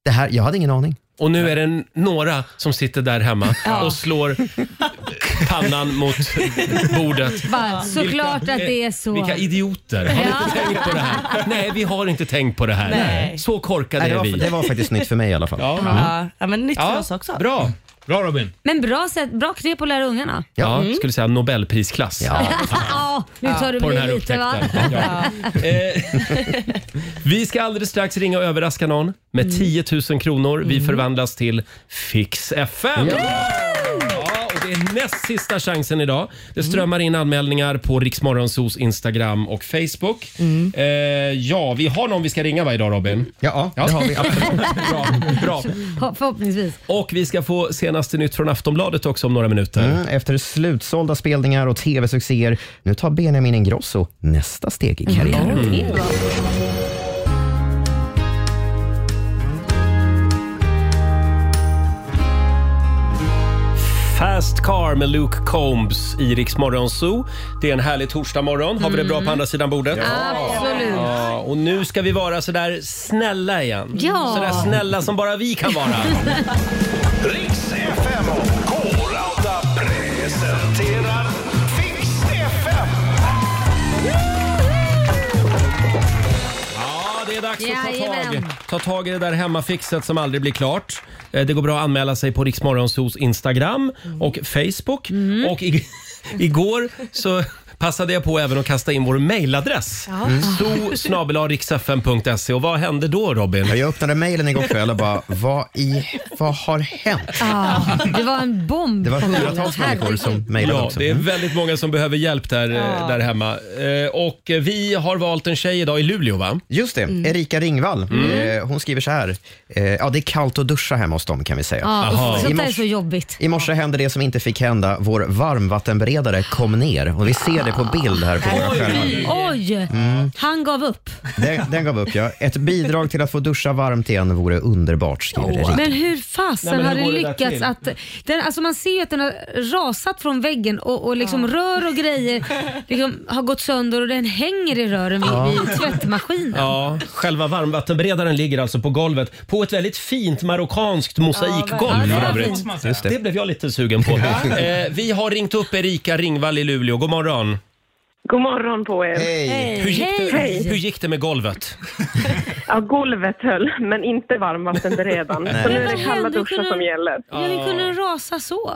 S3: det här, jag hade ingen aning.
S1: Och nu är det n- några som sitter där hemma
S2: Ja.
S1: och slår pannan mot bordet.
S2: Bara, såklart att det är så.
S1: Vilka idioter! Har ni inte tänkt på det här? Nej, vi har inte tänkt på det här.
S9: Nej.
S1: Så korkade
S3: Nej, det
S1: är
S3: var-
S1: vi.
S3: det var faktiskt nytt för mig i alla fall.
S1: Ja, Mm.
S9: Ja, ja, men nytt för oss också.
S1: Bra. Bra Robin.
S2: Men bra, sätt, bra knep att lära ungarna.
S1: Ja,
S2: Mm.
S1: skulle säga Nobelprisklass.
S2: Ja, nu tar du
S1: På den här
S2: mig lite va?
S1: upptäckten. Ja. Eh, vi ska alldeles strax ringa och överraska någon med
S9: Mm.
S1: 10 000 kronor. Vi förvandlas till Fix FM. Ja, och det är näst sista chansen idag. Det strömmar in anmälningar på Riksmorgonsos Instagram och Facebook. Eh, ja, vi har någon vi ska ringa va idag Robin?
S3: Ja,
S1: ja.
S3: det har vi.
S1: bra, bra.
S2: Ho- Förhoppningsvis.
S1: Och vi ska få senaste nytt från Aftonbladet också om några minuter.
S3: Mm, efter slutsålda spelningar och tv-succéer, nu tar Benjamin Ingrosso nästa steg i karriären.
S1: Mm. Fast Car med Luke Combs i Rix Morgon Zoo. Det är en härlig torsdagmorgon. Har vi det bra på andra sidan bordet?
S2: Mm. Absolut.
S1: Ja, och nu ska vi vara sådär snälla igen.
S2: Ja.
S1: Sådär snälla som bara vi kan vara.
S5: Riks FM och K-Rauta presenterar Fix FM.
S1: Ja, det är dags att ta tag,
S2: Jajamän.
S1: ta tag i det där hemmafixet som aldrig blir klart. Eh, Det går bra att anmäla sig på Rix Morgonzoos Instagram
S2: Mm.
S1: och Facebook. Och ig- igår så passade jag på även att kasta in vår mailadress. Mm.
S2: Ja.
S1: zoo.riksfm.se. Och vad hände då Robin?
S3: Jag öppnade mejlen igår kväll och bara, vad, i, vad har hänt?
S2: Ah, det var en bomb.
S3: Det var
S2: på gång.
S3: hundratals människor som
S2: Herregud.
S3: mejlade
S1: Mm. Ja,
S3: också. Mm.
S1: det är väldigt många som behöver hjälp där, eh,
S2: Ja.
S1: där hemma. Eh, Och eh, vi har valt en tjej idag i Luleå va? Mm.
S3: Just det,
S2: Mm.
S3: Erika Ringvall. Eh, hon skriver så här. Eh, ja, det är kallt att duscha hemma hos dem kan vi säga.
S2: Ja, usch,
S3: I
S2: sånt där är
S3: morse-
S2: så jobbigt.
S3: I morse hände det som inte fick hända. Vår varmvattenberedare kom ner och vi ser det på bild här på våra skärmar.
S2: Oj! Han gav upp.
S3: Den, den gav upp ja. Ett bidrag till att få duscha varmt igen vore underbart skriver Erika.
S2: Men hur
S1: Nej,
S2: fasen
S1: men
S2: har
S1: hur
S2: det
S1: går det där
S2: lyckats
S1: till?
S2: att... Den, alltså man ser ju att den har rasat från väggen och, och liksom rör och grejer liksom har gått sönder och den hänger i rören vid, vid tvättmaskinen.
S1: Ja, själva varmvattenberedaren ligger alltså på golvet på ett väldigt fint marockanskt mosaikgolv
S2: verkligen.
S1: för
S2: Ja,
S1: övrigt.
S2: det
S3: Just det.
S1: Det blev jag lite sugen på. eh, vi har ringt upp Erika Ringvall i Luleå. God morgon.
S6: God morgon på er.
S3: Hej!
S1: Hur gick det,
S2: Hej.
S1: hur gick det med golvet?
S6: Ja, golvet höll, men inte varmvattenberedaren. Så nu är det
S2: Vad
S6: kalla
S2: hände?
S6: duschar
S2: Kunde-
S6: som gäller.
S2: Ja, hur kunde den rasa så?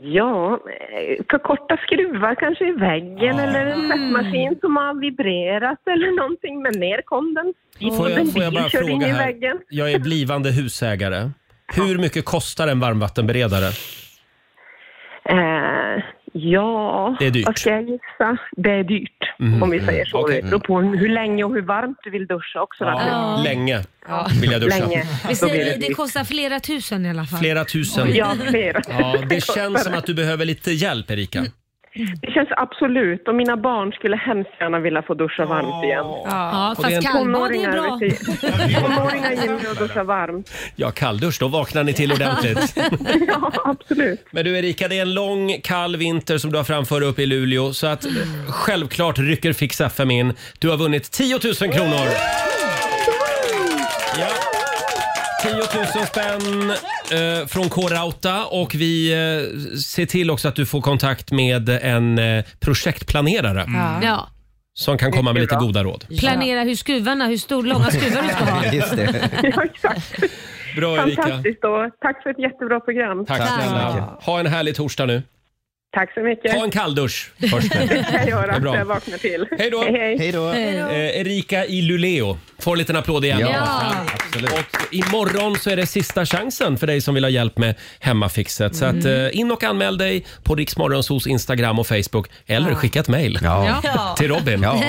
S6: Ja, eh, för korta skruvar kanske i väggen eller en
S2: Mm.
S6: tvättmaskin som har vibrerat eller någonting. Men ner kom den.
S1: Får jag, får jag bara
S6: Kör in
S1: fråga
S6: i
S1: här?
S6: väggen.
S1: Jag är blivande husägare. Hur mycket kostar en varmvattenberedare?
S6: Eh, ja,
S1: Det är dyrt. Mhm.
S6: vad ska jag gissa? Det är dyrt, om vi säger så.
S1: Okej.
S6: Det beror på hur länge och hur varmt du vill duscha också. naturligtvis.
S2: Ja.
S1: Länge vill jag duscha.
S6: Länge.
S2: Vi
S6: Då blir
S2: säger det,
S6: dyrt.
S2: kostar flera tusen i alla fall.
S1: Flera tusen.
S6: Ja, flera.
S1: Ja, det känns som att du behöver lite hjälp, Erika.
S6: Det känns absolut. Och mina barn skulle hemskt gärna vilja få duscha varmt igen.
S2: Ja,
S1: det är en-
S2: fast kallbad är bra.
S6: vet du. Tonåringar gillar ju att duscha varmt.
S1: Ja, kalldusch, då vaknar ni till ordentligt.
S6: Ja, absolut.
S1: Men du Erika, det är en lång kall vinter som du har framför dig uppe i Luleå. Så att eh, självklart rycker Fix FM in. Du har vunnit 10 000 kronor! Ja. 10 000 spänn eh, från K-Rauta och vi eh, ser till också att du får kontakt med en eh, projektplanerare
S2: Mm. Ja.
S1: som kan komma med lite goda råd.
S2: Planera hur skruvarna, hur stor, långa skruvar du ska ha.
S3: Just det.
S6: Ja, exakt.
S1: Bra Erika!
S6: Fantastiskt. Och tack för ett jättebra program.
S1: Tack snälla. Ha en härlig torsdag nu.
S6: Tack så mycket.
S1: Ta en kalldusch först.
S6: Det kan jag göra.
S1: är bra.
S6: Jag vaknar till.
S1: Hej då.
S3: Hej då!
S1: Eh, Erika i Luleå får en liten applåd igen.
S2: Ja.
S1: Och imorgon så är det sista chansen för dig som vill ha hjälp med hemmafixet. Så att,
S3: Mm.
S1: eh, in och anmäl dig på Riksmorgonsos Instagram och Facebook eller skicka ett mejl
S3: Ja.
S1: till Robin.
S3: ja,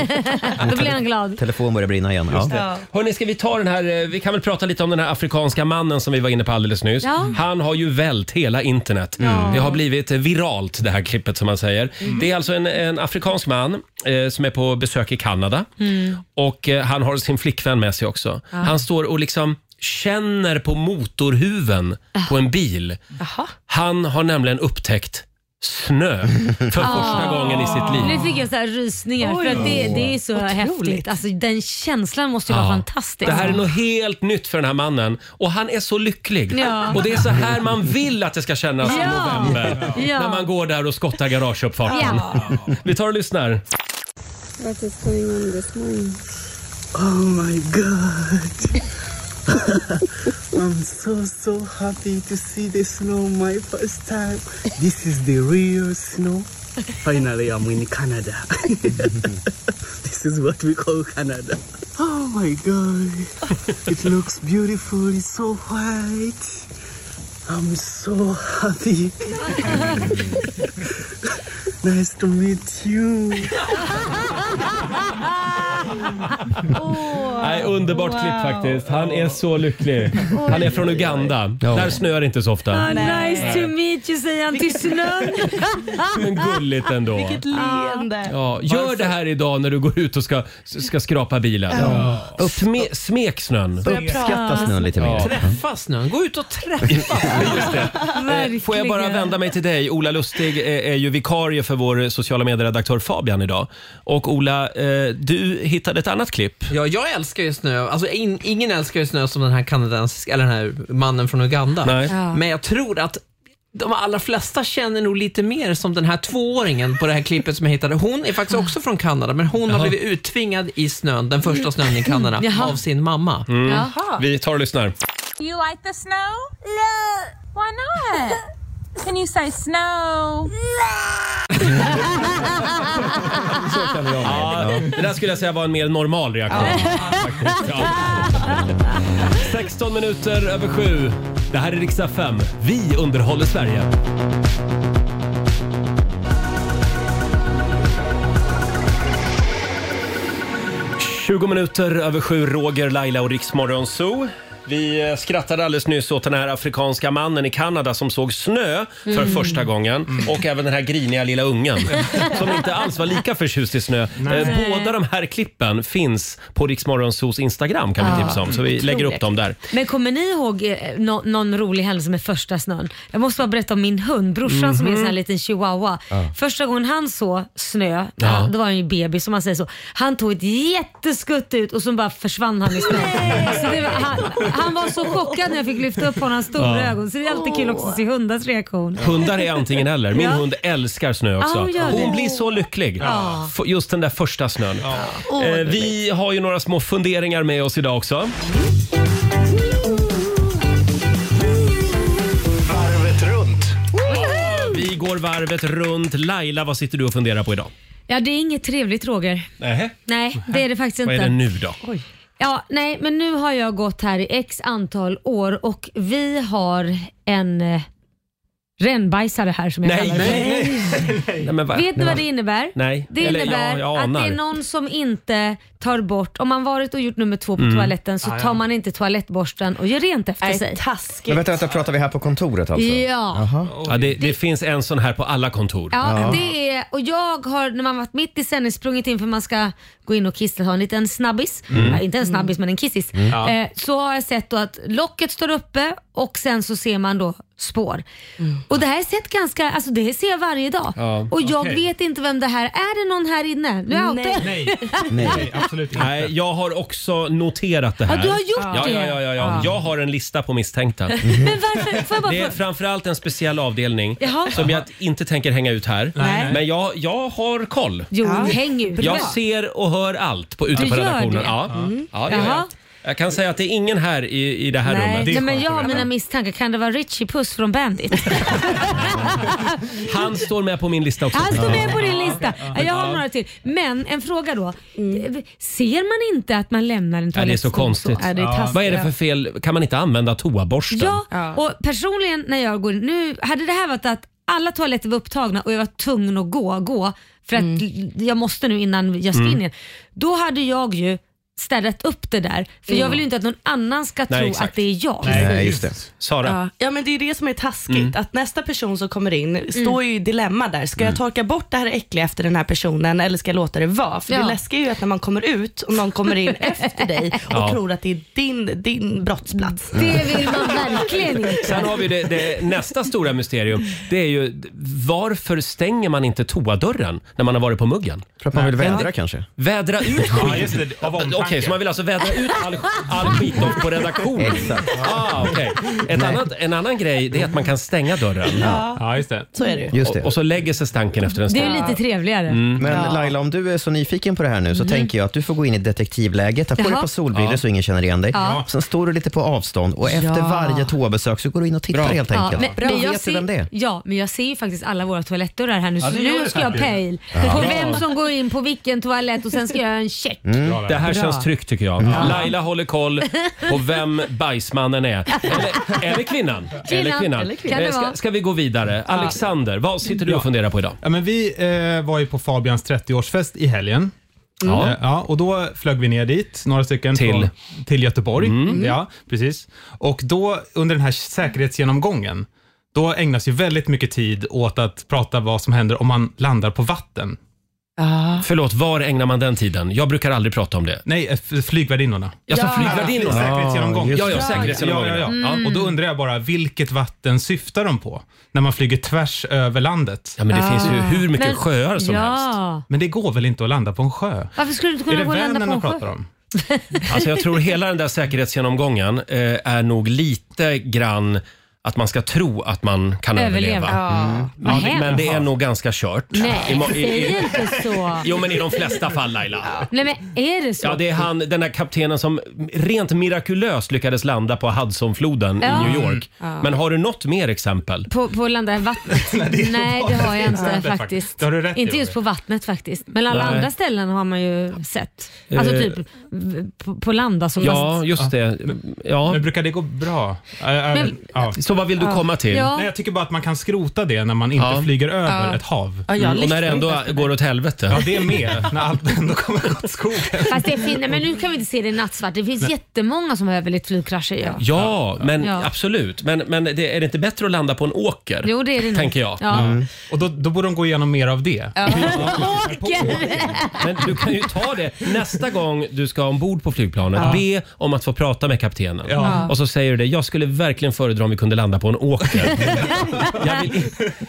S2: Då blir han glad.
S3: telefon börjar brinna igen. Ja.
S1: Hörni, ska vi ta den här, eh, vi kan väl prata lite om den här afrikanska mannen som vi var inne på alldeles nyss. Mm.
S2: Ja.
S1: Han har ju vält hela internet. Det har blivit viralt det här klippet som man säger.
S3: Mm.
S1: Det är alltså en, en afrikansk man eh, som är på besök i Kanada
S3: Mm.
S1: och eh, han har sin flickvän med sig också. Han står och liksom känner på motorhuven
S2: Ah.
S1: på en bil. Han har nämligen upptäckt snö för
S2: Ah.
S1: första gången i sitt liv.
S2: Nu fick jag så här rysningar för att det, det är så häftigt. Alltså, den känslan måste ju vara
S1: Ja.
S2: fantastisk.
S1: Det här är något helt nytt för den här mannen och han är så lycklig.
S2: Ja.
S1: Och det är så här man vill att det ska kännas i
S2: Ja.
S1: november.
S2: Ja.
S1: När man går där och skottar garageuppfarten. Vi tar och lyssnar.
S11: What is going on this morning?
S4: Oh my god. I'm so so happy to see the snow my first time. This is the real snow. Finally I'm in Canada. this is what we call Canada. Oh my god. It looks beautiful, it's so white. I'm so happy. nice to meet you.
S1: Nej, underbart
S2: Wow.
S1: klipp faktiskt. Han är så lycklig. Han är från Uganda. Där snöar det inte så ofta.
S2: Ah, nice to meet you säger han till snön. Ah.
S1: Men gulligt ändå.
S2: Vilket leende.
S1: Ja, gör det här idag när du går ut och ska, ska skrapa bilen.
S2: Ja.
S1: Upp, sme, smek snön.
S3: Uppskatta snön lite mer.
S1: Träffa snön. Gå ut och träffa
S8: Eh,
S1: snön. Eh, Får jag bara vända mig till dig? Ola Lustig eh, är ju vikarie för vår sociala medieredaktör Fabian idag. Och Ola, eh, du hittade ett annat klipp.
S8: Ja, jag älskar ju snö. Alltså, in, ingen älskar ju snö som den här kanadensiska, eller den här mannen från Uganda.
S1: Nej. Ja.
S8: Men jag tror att de allra flesta känner nog lite mer som den här tvååringen på det här klippet som jag hittade. Hon är faktiskt också från Kanada, men hon har
S1: Jaha.
S8: blivit uttvingad i snön, den första snön i Kanada,
S1: Jaha.
S8: av sin mamma.
S1: Mm. Vi tar och lyssnar.
S12: Do you like the snow? No. Why not? Can you say snow?
S1: Ja, det där skulle jag säga var en mer normal reaktion. Faktiskt, Ja. 16 minuter över sju. Det här är riksdag 5. Vi underhåller Sverige. Tjugo minuter över sju, Roger, Laila och Riksmorgon Zoo. Vi eh, skrattade alldeles nyss åt den här afrikanska mannen i Kanada som såg snö för
S5: Mm.
S1: första gången och även den här griniga lilla ungen som inte alls var lika förtjust i snö.
S5: Nej.
S1: Eh,
S5: Nej.
S1: Båda de här klippen finns på Riksmorgonsos Instagram kan vi
S2: Ja.
S1: tipsa om. Så vi
S2: Otroligt.
S1: lägger upp dem där.
S2: Ah. Men kommer ni ihåg eh, nå- någon rolig händelse med första snön? Jag måste bara berätta om min hund, brorsan som är en sån här
S1: Mhm.
S2: liten chihuahua.
S1: Ja.
S2: Första gången han såg snö,
S1: Ja.
S2: då var han ju bebis som man säger så. Han tog ett jätteskutt ut och så bara försvann han i snön. Så det var, han, han var så chockad när jag fick lyfta upp honom, hans stora
S1: Ja.
S2: ögon. Så det är alltid kul också att se hundars reaktion.
S1: Hundar är antingen eller. Min
S2: Ja.
S1: hund älskar snö också.
S2: Ja, hon gör det.
S1: Hon blir så lycklig.
S2: Ja.
S1: F- Just den där första snön.
S2: Åh,
S1: Eh,
S2: vad
S1: Vi har ju några små funderingar med oss idag också.
S5: Varvet runt.
S1: Vi går varvet runt. Laila, vad sitter du och funderar på idag?
S2: Ja, det är inget trevligt Roger.
S1: Nähä.
S2: Nej, det är det faktiskt inte.
S1: Vad är det nu då?
S2: Ja, nej, men nu har jag gått här i x antal år och vi har en eh, rännbajsare här som jag
S1: Nej,
S2: kallar det.
S1: nej, Nej, men
S2: Vet ni vad det innebär?
S1: Nej.
S2: Det
S1: Eller,
S2: innebär
S1: ja, jag
S2: att det
S1: anar.
S2: är någon som inte tar bort, om man varit och gjort nummer två på
S3: Mm.
S2: toaletten så
S3: Ah, ja.
S2: tar man inte toalettborsten och gör rent efter sig. Taskigt.
S3: Men vänta, vänta, pratar vi här på kontoret alltså?
S2: Ja. Jaha.
S1: Ja, det, det finns en sån här på alla kontor.
S2: Ja, det är, och jag har när man varit mitt i sändning sprungit in för man ska gå in och kissa, ha en liten snabbis.
S1: Mm.
S2: Ja, inte en snabbis men en kissis.
S1: Mm. Ja.
S2: Eh, så har jag sett då att locket står uppe och sen så ser man då spår. Och det här har jag sett ganska, alltså det ser jag varje dag.
S1: Mm. Ja,
S2: Och jag
S1: okej.
S2: vet inte vem det här är. Är det någon här inne? Nu är jag ute.
S1: Nej, absolut inte. Nej, jag har också noterat det här.
S2: Ja, du har gjort
S1: ja,
S2: det.
S1: Ja, ja, ja, ja.
S2: Ah.
S1: Jag har en lista på misstänkta.
S2: men varför? Får jag bara
S1: Det är
S2: fråga?
S1: framförallt en speciell avdelning
S2: Jaha.
S1: som jag inte tänker hänga ut här.
S2: Nej.
S1: Men jag, jag har koll.
S2: Jo, häng ut.
S1: Jag ser och hör allt på, ute
S2: Du
S1: på
S2: gör
S1: redaktionen.
S2: det?
S1: Ja.
S2: Mm.
S1: Ja, det gör jag.
S2: Jaha.
S1: jag kan säga att det är ingen här i, i det här
S2: Nej,
S1: rummet.
S2: nej, men jag har mina misstankar. Kan det vara Richie Puss från Bandit?
S1: Han står med på min lista också.
S2: Han står med på din
S1: Ja.
S2: lista. Jag har några till. Men en fråga då. Ser man inte att man lämnar en
S1: Ja,
S2: toalett?
S1: det är så konstigt.
S2: Ja, det är taskigt.
S1: Vad är det för fel? Kan man inte använda toaborsten?
S2: Ja, och personligen när jag går in- nu hade det här varit att alla toaletter var upptagna och jag var tvungen att gå, gå för att l- jag måste nu innan jag ska
S1: Mm.
S2: in igen. Då hade jag ju städat upp det där för jag
S9: Mm.
S2: vill ju inte att någon annan ska
S9: Nej,
S2: tro
S9: exakt.
S2: att det är jag.
S1: det. Sara.
S9: Ja, ja, men det är ju det som är taskigt.
S1: Mm.
S9: Att nästa person som kommer
S2: Mm.
S9: in står ju i dilemma där. Ska jag torka bort det här äckliga efter den här personen eller ska jag låta det vara? För
S2: Ja.
S9: det läskiga är ju att när man kommer ut och någon kommer in efter dig och
S1: Ja.
S9: tror att det är din, din brottsplats.
S2: Det vill man verkligen inte.
S1: Sen har vi det, det nästa stora mysterium. Det är ju varför stänger man inte toadörren när man har varit på muggen? För
S3: att man vill vädra kanske?
S1: Vädra ut skit?
S7: Ja, just det, av omtanke.
S1: Okej, så man vill alltså vädra ut all, all skit då på redaktionen?
S7: Exakt.
S1: Ah, okej. Ett annat, en annan grej det är att man kan stänga dörren.
S9: Ja.
S1: just det.
S9: Så är det ju.
S3: Just det.
S1: Och, och så lägger sig stanken efter en
S2: Det
S1: stund.
S2: är ju lite trevligare.
S1: Mm.
S3: Men
S2: Ja.
S3: Laila, om du är så nyfiken på det här nu så
S2: Mm.
S3: tänker jag att du får gå in i detektivläget, ta på
S2: Jaha.
S3: dig på solbrillor
S2: Ja.
S3: så ingen känner igen dig.
S2: Ja.
S3: Sen står du lite på avstånd och efter
S2: Ja.
S3: varje toabesök så går du in och tittar helt enkelt.
S2: Ja, men, men
S3: Då
S2: jag
S3: vet
S2: ser,
S3: du vem det är.
S2: Ja, men jag ser ju faktiskt alla våra toalettdörrar här nu.
S3: Ja,
S2: Så
S3: det gör
S2: nu
S3: du
S2: ska jag
S3: faktiskt.
S2: pejl
S3: Ja.
S2: på
S3: Bra.
S2: vem som går in på vilken toalett och sen ska jag göra en check.
S3: Mm.
S1: Det här
S2: Bra.
S1: känns Klasstryck tycker jag.
S5: Ja.
S1: Laila håller koll på vem bajsmannen är. Eller, eller kvinnan.
S5: Kvinnan. Eller kvinnan.
S1: Eh, Ska, ska vi gå vidare?
S7: Ja.
S1: Alexander, vad sitter du och funderar på idag?
S7: Ja, men vi eh, var ju på Fabians 30-årsfest i helgen.
S1: Mm.
S7: Ja. ja, och då flög vi ner dit, några stycken.
S1: Till?
S7: från- till Göteborg.
S1: Mm.
S7: Ja, precis. Och då under den här säkerhetsgenomgången, då ägnas ju väldigt mycket tid åt att prata vad som händer om man landar på vatten.
S2: Ah.
S1: Förlåt, var ägnar man den tiden? Jag brukar aldrig prata om det.
S7: Nej, eh, flygvärdinnorna.
S1: Ja, så flygvärdinnorna.
S7: Säkerhetsgenomgång.
S1: Ja, ja, säkerhetsgenomgången.
S7: Ja, ja, ja.
S1: Mm.
S7: Och då undrar jag bara, vilket vatten syftar de på när man flyger tvärs över landet? Ja,
S1: men det Ah. finns ju hur mycket Men- sjöar som
S2: ja. helst.
S7: Men det går väl inte att landa på en sjö?
S2: Varför skulle du inte kunna gå och landa på en sjö?
S7: om?
S1: Alltså jag tror hela den där säkerhetsgenomgången eh, är nog lite grann att man ska tro att man kan
S2: Överleva.
S1: överleva. Mm.
S2: Ja. Vad
S1: Men-
S2: hemskt.
S1: Men det är nog ganska kört. I
S2: Nej,
S1: mo- i- i-
S2: säg inte så.
S1: Jo, men i de flesta fall Laila.
S2: Nej men är det så?
S1: Ja, det är han, den där kaptenen som rent mirakulöst lyckades landa på Hudsonfloden
S2: Ja.
S1: i New York.
S2: Ja.
S1: Men har du något mer exempel?
S2: På, på att landa i vattnet? Nej, det, har jag inte faktiskt.
S1: Det har du rätt i,
S2: inte
S1: Roger.
S2: just på vattnet faktiskt. Men alla
S1: Nej.
S2: andra ställen har man ju sett. Alltså
S1: Eh.
S2: typ v- på, på landa som
S1: Ja,
S2: man-
S1: just det. Ja.
S7: Men brukar det gå bra?
S2: Men-
S7: ja.
S1: Så vad vill du Ja. komma till? Ja.
S7: Nej, jag tycker bara att man kan skrota det när man inte
S1: Ja.
S7: flyger över
S1: Ja.
S7: ett hav.
S1: Ja, jag Mm, och lyssnar när det ändå inte. går åt helvete.
S7: Ja, det är med. när allt ändå kommer åt skogen.
S2: Fast det finns, men nu kan vi inte se det i nattsvart. Det finns
S1: Nej.
S2: jättemånga som har överlevt flygkrascher. Ja.
S1: Ja, men
S2: Ja.
S1: absolut. Men, men det, är det inte bättre att landa på en åker?
S2: Jo, det är det nog.
S1: Tänker jag.
S2: Ja. Mm.
S7: Och då, då borde de gå igenom mer av det.
S1: Men du kan ju ta det nästa gång du ska ombord på flygplanet.
S5: Ja.
S1: Be om att få prata med kaptenen.
S5: Ja.
S1: Och så säger du det. Jag skulle verkligen föredra om vi kunde landa på en åker. jag, vill,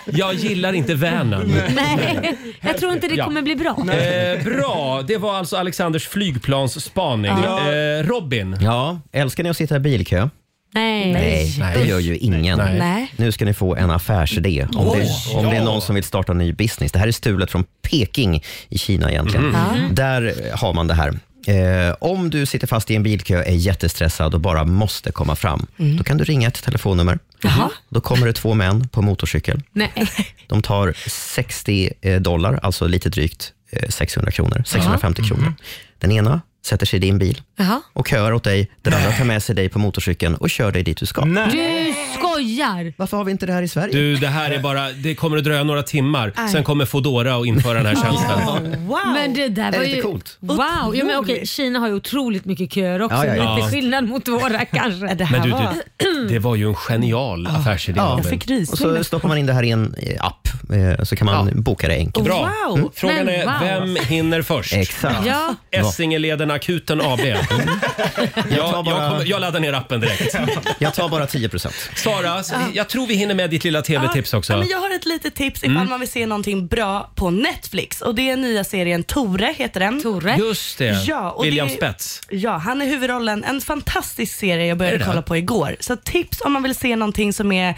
S1: jag gillar inte Vänern.
S2: Nej, jag tror inte det
S1: Ja.
S2: kommer bli bra.
S1: Eh, bra, det var alltså Alexanders flygplansspaning.
S2: Ja.
S1: Eh, Robin?
S3: Ja, älskar ni att sitta i bilkö?
S2: Nej.
S3: det gör ju ingen.
S2: Nej. Nej.
S3: Nu ska ni få en affärsidé. Om,
S5: Oj.
S3: det, om det är någon som vill starta en ny business. Det här är stulet från Peking i Kina egentligen.
S2: Mhm.
S5: Mm. Ja.
S3: Där har man det här. Eh, om du sitter fast i en bilkö, är jättestressad och bara måste komma fram,
S2: Mhm.
S5: Mm.
S3: då kan du ringa ett telefonnummer. Mhm. Då kommer det två män på motorcykel.
S2: Nej.
S3: De tar 60 eh, dollar, alltså lite drygt eh, 600 kronor. 650
S2: Mhm.
S3: kronor. Den ena sätter sig i din bil
S2: Jaha.
S3: och köar åt dig. Den andra tar med sig dig på motorcykeln och kör dig dit du ska.
S2: Du skojar!
S3: Varför har vi inte det här i Sverige?
S1: Du, det här är bara, det kommer att dröja några timmar.
S2: Aj.
S1: Sen kommer Foodora att införa den här tjänsten.
S2: Wow. Men det där
S1: Det är
S2: var
S1: lite
S2: ju...
S1: coolt.
S2: Wow! Ja, men okej, Kina har ju otroligt mycket köer också.
S1: Ja, ja, ja.
S2: Lite
S1: Ja.
S2: skillnad mot våra kanske. Det
S1: Men du, du, det var ju en genial affärsidé. Robin.
S3: Och så stoppar man in det här i en eh, app, eh, så kan man boka det enkelt.
S1: Bra.
S3: Mm.
S1: Frågan
S5: Men
S1: är,
S5: wow.
S1: vem hinner först?
S3: Exakt.
S5: Ja.
S1: Essingeleden Akuten AB. jag, jag, kommer, jag laddar ner appen direkt.
S3: jag tar bara 10
S1: Sara, jag tror vi hinner med ditt lilla tv-tips också.
S9: Ja, men jag har ett litet tips ifall
S1: Mm.
S9: man vill se någonting bra på Netflix. Och Det är nya serien Tore, heter den. Tore.
S1: Just det.
S9: Ja, och
S1: William
S9: det är,
S1: Spets.
S9: Ja, han är huvudrollen. En fantastisk serie jag
S1: Är
S9: började
S1: det
S9: kolla
S1: det?
S9: på igår. Så tips om man vill se någonting som är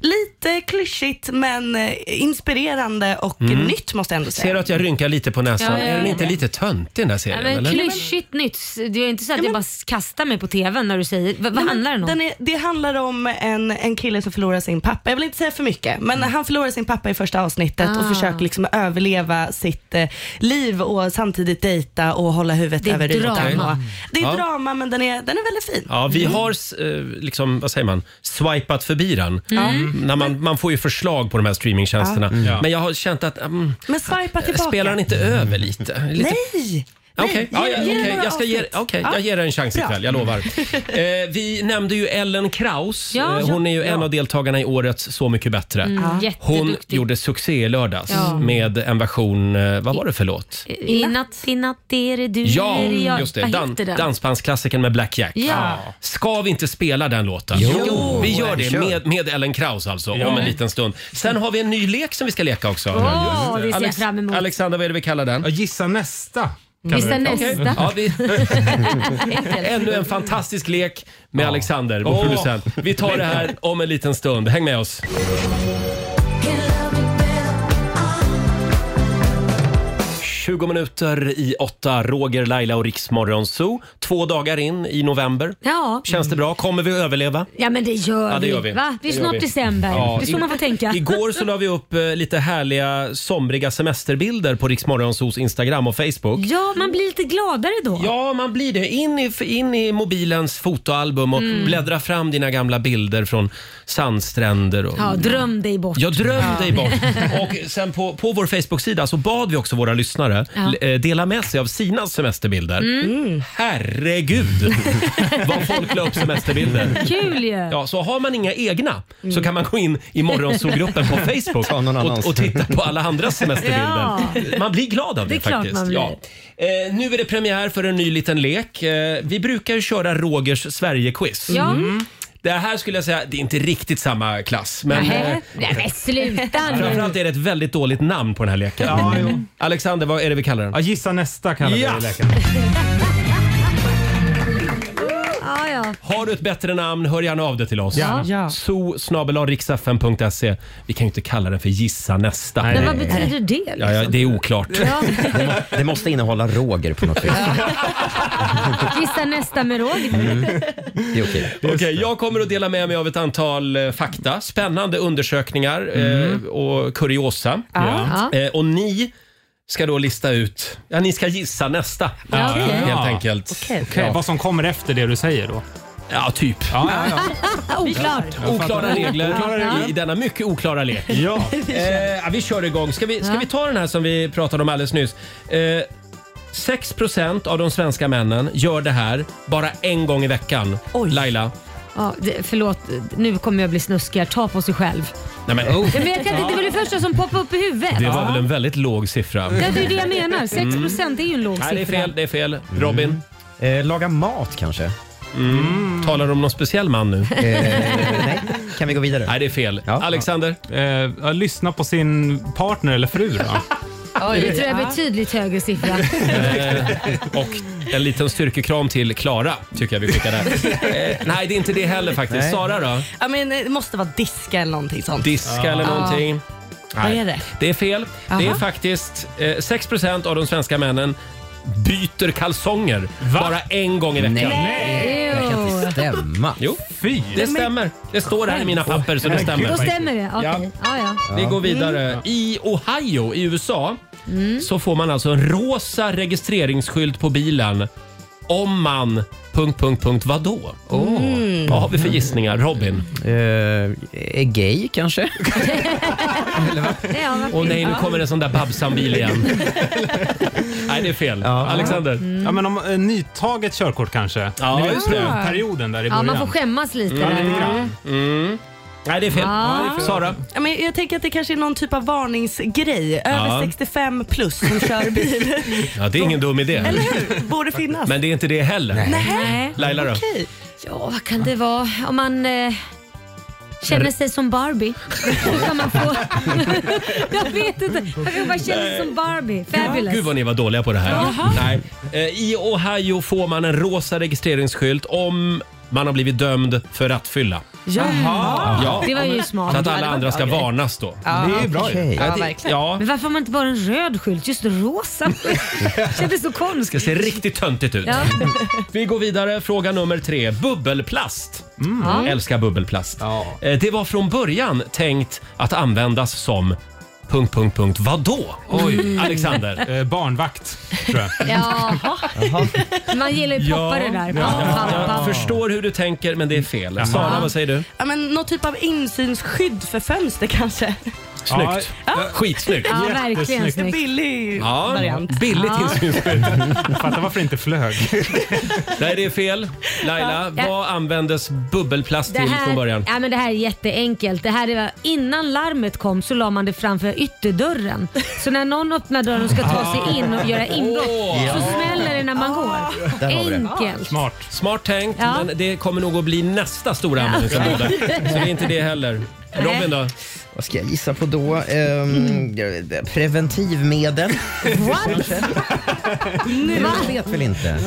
S9: lite klyschigt men eh, inspirerande och
S1: Mm.
S9: nytt måste jag ändå säga.
S1: Ser du att jag rynkar lite på näsan?
S2: Ja, ja, ja.
S1: Är den inte lite töntig den här serien?
S2: Ja, men
S1: eller?
S2: klyschigt nytt. Det är inte så att jag bara kastar mig på tvn när du säger... Vad, vad
S9: Nej, men
S2: handlar den om?
S9: Den är, det handlar om en, en kille som förlorar sin pappa. Jag vill inte säga för mycket, men han förlorar sin pappa i första avsnittet
S2: Mm. Ah.
S9: och försöker liksom överleva sitt eh, liv och samtidigt dejta och hålla huvudet
S2: Det är
S9: över ytan.
S1: drama.
S9: Och- Det är
S1: Ja.
S9: drama, men den är, den är väldigt fin. Mm.
S1: Ja, vi har s- eh, liksom, vad säger man, swipat förbi den.
S9: Mm.
S1: När man, man får ju förslag på de här streamingtjänsterna.
S9: Ja. Mm. Ja.
S1: Men jag har känt att... mm,
S9: Men swipa tillbaka.
S1: spelar den inte över lite? lite
S9: Nej!
S1: Ja,
S9: Nej,
S1: Okej,
S9: ge-
S1: ja, ja,
S9: ge den
S1: okej.
S9: några
S1: jag, ska ge,
S9: avsnitt.
S1: okej,
S9: Ja.
S1: jag ger dig en chans
S9: Bra.
S1: ikväll, jag lovar. Eh, vi nämnde ju Ellen Kraus.
S2: Ja.
S1: Eh, Hon är ju
S2: Ja.
S1: en av deltagarna i årets Så mycket bättre.
S2: Mm, Ja.
S1: Hon
S2: jätteduktig.
S1: gjorde succé i lördags
S2: Ja. eh,
S1: med en version, eh, vad var det för låt?
S2: I natt, i natt är det du,
S1: Ja,
S2: är det jag.
S1: just det.
S2: Vad
S1: Dan,
S2: heter den?
S1: dansbandsklassikern med Black Jack.
S2: Ja.
S1: Ska vi inte spela den låten?
S5: Jo. Jo.
S1: Vi gör det
S5: Kör.
S1: med, med Ellen Kraus alltså,
S5: Ja.
S1: om en liten stund. Sen har vi en ny lek som vi ska leka också.
S5: Åh,
S2: det ser jag
S1: Alex-
S2: fram emot.
S1: Alexander, vad är det vi kallar den?
S7: Gissa nästa.
S1: kallar
S2: Gissa
S1: vi den.
S2: nästa.
S1: Okej. Ja, vi, Ännu en fantastisk lek med Alexander, vår
S5: Åh.
S1: producent. Vi tar det här om en liten stund. Häng med oss. 20 minuter i åtta, Roger, Laila och Riksmorgon Zoo. Två dagar in i november.
S2: Ja.
S1: Känns det bra? Kommer vi överleva?
S2: Ja men det gör,
S1: Ja, det gör vi.
S2: Va? Det är
S1: Det gör
S2: snart
S1: vi.
S2: december.
S1: Ja,
S2: det är så
S1: i-
S2: man får tänka.
S1: Igår så la vi upp eh, lite härliga somriga semesterbilder på Riksmorgonsos Instagram och Facebook.
S2: Ja, man blir lite gladare då.
S1: Ja, man blir det. In i, in i mobilens fotoalbum och
S2: Mm.
S1: bläddra fram dina gamla bilder från sandstränder. Och...
S2: Ja, dröm dig bort.
S1: Jag dröm
S2: Ja.
S1: dig bort. Och sen på, på vår Facebook-sida så bad vi också våra lyssnare
S2: Ja.
S1: l- eh, dela med sig av sina semesterbilder.
S2: Mm.
S1: Herregud vad folk la upp semesterbilder.
S2: Kul ju.
S1: Ja, så har man inga egna så
S2: Mm.
S1: kan man gå in i morgonsolgruppen på Facebook
S3: Ta någon annans.
S1: och, och titta på alla andras semesterbilder.
S3: Ja.
S1: Man blir glad av det,
S3: Det är klart
S1: faktiskt.
S3: man blir.
S1: Ja. Eh, nu är det premiär för en ny liten lek. Eh, vi brukar ju köra Rogers Sverige-quiz.
S2: Ja. Mm.
S1: Det här skulle jag säga, det är inte riktigt samma klass. Men, eh,
S2: Nej, nej, men sluta nu.
S1: Framförallt är det ett väldigt dåligt namn på den här leken. Alexander, vad är det vi kallar den? Ja,
S7: gissa nästa kallar vi leken.
S2: Ja, ja.
S1: Har du ett bättre namn, hör gärna av dig till oss.
S2: Ja. Ja.
S1: So riksfm.se. Vi kan ju inte kalla den för gissa nästa.
S2: Men vad betyder det? Liksom?
S1: Ja, ja, det är oklart.
S2: Ja.
S1: Det måste innehålla Roger på något vis.
S2: Gissa liksom? nästa med Roger.
S1: Mm. Det är okej. jag kommer att dela med mig av ett antal eh, fakta, spännande undersökningar eh, och kuriosa.
S2: Mm. Ja. Ja.
S1: Eh, och ni ska då lista ut, ja ni ska gissa nästa
S7: Ja, okej.
S1: helt
S7: Ja.
S1: enkelt.
S7: Okej. Okej, vad
S1: som kommer efter det du säger då? Ja, typ.
S2: Oklart.
S1: Oklara regler
S2: Ja.
S1: i denna mycket oklara lek. Ja. Eh, vi kör igång. Ska vi, ska
S2: Ja.
S1: vi ta den här som vi pratade om alldeles nyss? Eh, 6 av de svenska männen gör det här bara en gång i veckan. Laila?
S2: Ja, det, förlåt, nu kommer jag bli snuskig. här. Ta på sig själv.
S1: Nej, men,
S2: Ja, men jag kan inte, det var det första som poppade upp i huvudet.
S1: Det var väl en väldigt låg siffra?
S2: Ja, det är det jag menar. 6 procent är ju en låg
S1: Mm. Nej, det är
S2: siffra.
S1: fel. Det är fel. Robin? Mm. Eh, laga mat kanske. Mm. Talar du om någon speciell man nu? Eh, nej. Kan vi gå vidare? Nej, det är fel. Alexander?
S7: Eh, lyssna på sin partner eller fru då.
S2: Oj, det tror jag är betydligt högre siffra.
S1: Eh, och en liten styrkekram till Klara tycker jag vi skickar där. Eh, nej, det är inte det heller faktiskt.
S9: Nej.
S1: Sara då?
S9: Ja, men, eh, det måste vara diska eller någonting sånt.
S1: Diska eller någonting?
S9: Ah. Vad
S1: Nej.
S9: är det?
S1: Det är fel. Det är
S9: Jaha.
S1: faktiskt eh, 6 av de svenska männen byter kalsonger bara en gång i veckan.
S2: Nej. Det kan inte
S1: stämma. Jo, Fy. det stämmer. Det står här i mina papper så det stämmer.
S2: Då stämmer det. Okej.
S1: Ja.
S2: Ja, ja.
S1: Vi går vidare. I Ohio i USA så får man alltså en rosa registreringsskylt på bilen om man... Punkt, punkt, punkt, vadå?
S3: Mm.
S1: Vad har vi för gissningar? Robin? Eh,
S3: är gay kanske?
S2: Ja, vad
S1: Åh
S2: fint.
S1: nej, nu
S2: Ja.
S1: kommer en sån där Babsan-bil igen. nej, det är fel. Alexander?
S2: Mm.
S7: Ja, men om, eh, nytaget körkort kanske?
S1: Ja,
S7: Ni vet,
S1: just det.
S7: Perioden där i
S2: Ja,
S7: början.
S2: man får skämmas lite. där.
S1: Mm. Nej, det är fel.
S9: Ja.
S1: Ja, det är fel. Sara?
S9: Ja, men jag tänker att det kanske är någon typ av varningsgrej. Över
S1: Ja.
S9: 65 plus som kör bil.
S1: Ja, det är ingen dum idé.
S9: Eller hur? Borde finnas.
S1: Men det är inte det heller.
S2: Nej.
S1: Laila då?
S2: Okej. Ja, vad kan det vara? Om man eh, känner sig som Barbie. Då kan man få... jag vet inte. Jag kan bara känna sig som Barbie. Fabulous.
S1: Gud vad ni var dåliga på det här.
S2: Jaha.
S1: Nej. Eh, I Ohio får man en rosa registreringsskylt om man har blivit dömd för rattfylla.
S2: Jaha.
S1: Ja.
S2: Det var ju smart.
S1: Så att
S2: Ja, det
S1: alla
S2: var
S1: andra
S2: en
S1: ska
S2: bra grej.
S1: varnas då.
S2: okej.
S1: Ja, det- Ja,
S2: Men varför har man inte bara en röd skylt? Just rosa. Kändes så
S1: det
S2: konstigt.
S1: ska se riktigt töntigt ut.
S2: Ja.
S1: Vi går vidare. Fråga nummer tre. Bubbelplast.
S2: Ja.
S1: Älskar bubbelplast. Eh, Det var från början tänkt att användas som... Punkt, punkt, punkt. Vadå? Oj,
S7: Mm.
S1: Alexander? Eh, barnvakt, tror jag.
S2: Jaha. Man gillar ju poppare där. Pappa,
S1: Jag
S2: pappa.
S1: förstår hur du tänker, men det är fel.
S9: Jaha.
S1: Sara, vad säger du?
S9: Ja, men någon typ av insynsskydd för fönster kanske.
S1: Snyggt. Skitsnyggt.
S9: Ja, verkligen.
S1: Jättesnyggt.
S9: En billig
S1: Ja,
S9: variant.
S1: billigt
S9: Ja.
S1: insynsskydd.
S7: Fattar varför det inte flög.
S1: Nej, det är fel. Laila,
S2: Ja.
S1: vad användes bubbelplast
S2: Det
S1: till
S2: här,
S1: från början?
S2: ja, men det här är jätteenkelt. Det här är, innan larmet kom så la man det framför ytterdörren. Så när någon öppnar dörren och ska ta sig in och göra inbrott
S1: Åh.
S2: så smäller det när man går. Enkelt.
S1: Smart. Smart tänkt,
S2: Ja.
S1: men det kommer nog att bli nästa stora användningsområde. Så det är inte det heller. Robin då?
S3: Vad ska jag gissa på då? Ehm, Preventivmedel?
S2: What?
S3: Nej, jag vet väl inte.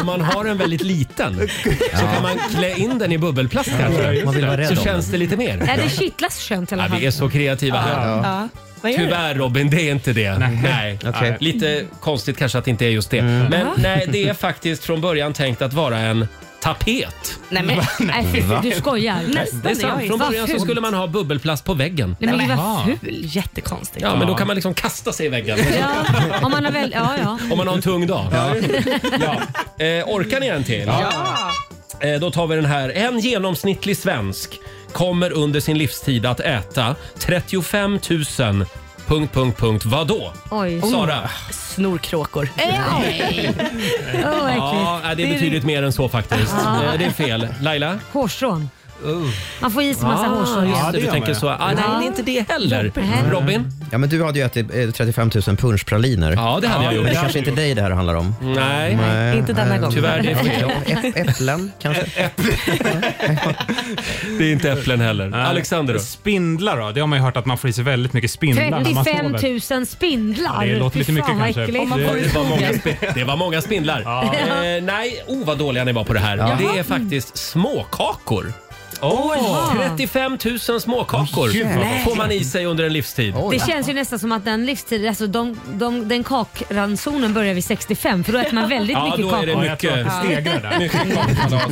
S1: Om man har en väldigt liten så kan man klä in den i bubbelplast
S3: Ja,
S1: kanske.
S3: man vill vara rädd
S1: så
S3: om
S1: känns
S3: den.
S1: det lite mer.
S2: Ja, det kittlas skönt i alla
S1: Ja,
S2: fall.
S1: vi är så kreativa här.
S2: Ja.
S9: Vad gör du?
S1: Tyvärr Robin, det är inte det. Nej.
S7: Okej.
S1: Lite konstigt kanske att det inte är just det.
S3: Mm.
S1: Men
S9: Ja.
S1: nej, det är faktiskt från början tänkt att vara en tapet.
S9: Nej men, nej, fy,
S1: Va?
S9: du skojar. Nästan
S1: det är sant. Från början så skulle
S9: man...
S1: man ha bubbelplast på väggen.
S9: Nej, men gud,
S1: Ja.
S9: vad ful. Jättekonstigt.
S1: Ja, men då kan man liksom kasta sig i väggen.
S2: Ja, om man har väl, ja, ja.
S1: Om man har en tung dag. Ja. Eh, orkar ni en till? Eh, då tar vi den här. En genomsnittlig svensk kommer under sin livstid att äta 35 000 punkt, punkt, punkt vadå?
S9: Oj.
S1: Sara?
S9: Snorkråkor.
S1: ja, nej, det är betydligt mer än så faktiskt.
S2: Ja.
S1: Eh, Det är fel. Laila?
S2: Hårstrån. Man får i sig massa
S1: Ah,
S2: hårstrån.
S1: just Uh. det, du tänker så. Ah, nej, det är inte det heller. Robin?
S3: Ja, men du hade ju ätit eh, 35 000 punschpraliner.
S1: Ja, det hade jag gjort.
S3: Men det är kanske inte dig det här handlar om.
S1: Nej,
S9: inte denna gång.
S1: Eh, Tyvärr, det är fel.
S3: Äpplen kanske?
S1: Det är inte äpplen heller. Alexander då?
S7: Spindlar då? Det har man ju hört att man får i sig väldigt mycket spindlar när man
S2: 35
S7: sover.
S2: 000 spindlar.
S7: Det låter
S2: Fy
S7: lite mycket
S2: fan, vad
S7: kanske.
S2: äckligt.
S7: Om man får i
S1: Det var många,
S7: skogen.
S1: spi- det var många spindlar.
S7: Ja.
S1: Eh, nej, oh vad dåliga ni var på det här.
S7: Ja.
S1: Det är faktiskt småkakor.
S2: Oj.
S1: 35 000 småkakor
S2: Gud, vad gott.
S1: får man i sig under en livstid.
S2: Det känns ju nästan som att den livstiden, alltså de, de, den kakransonen börjar vid 65 för då äter man väldigt
S1: ja,
S2: mycket
S1: då
S2: kakor.
S1: Är det mycket, mycket kakkalas.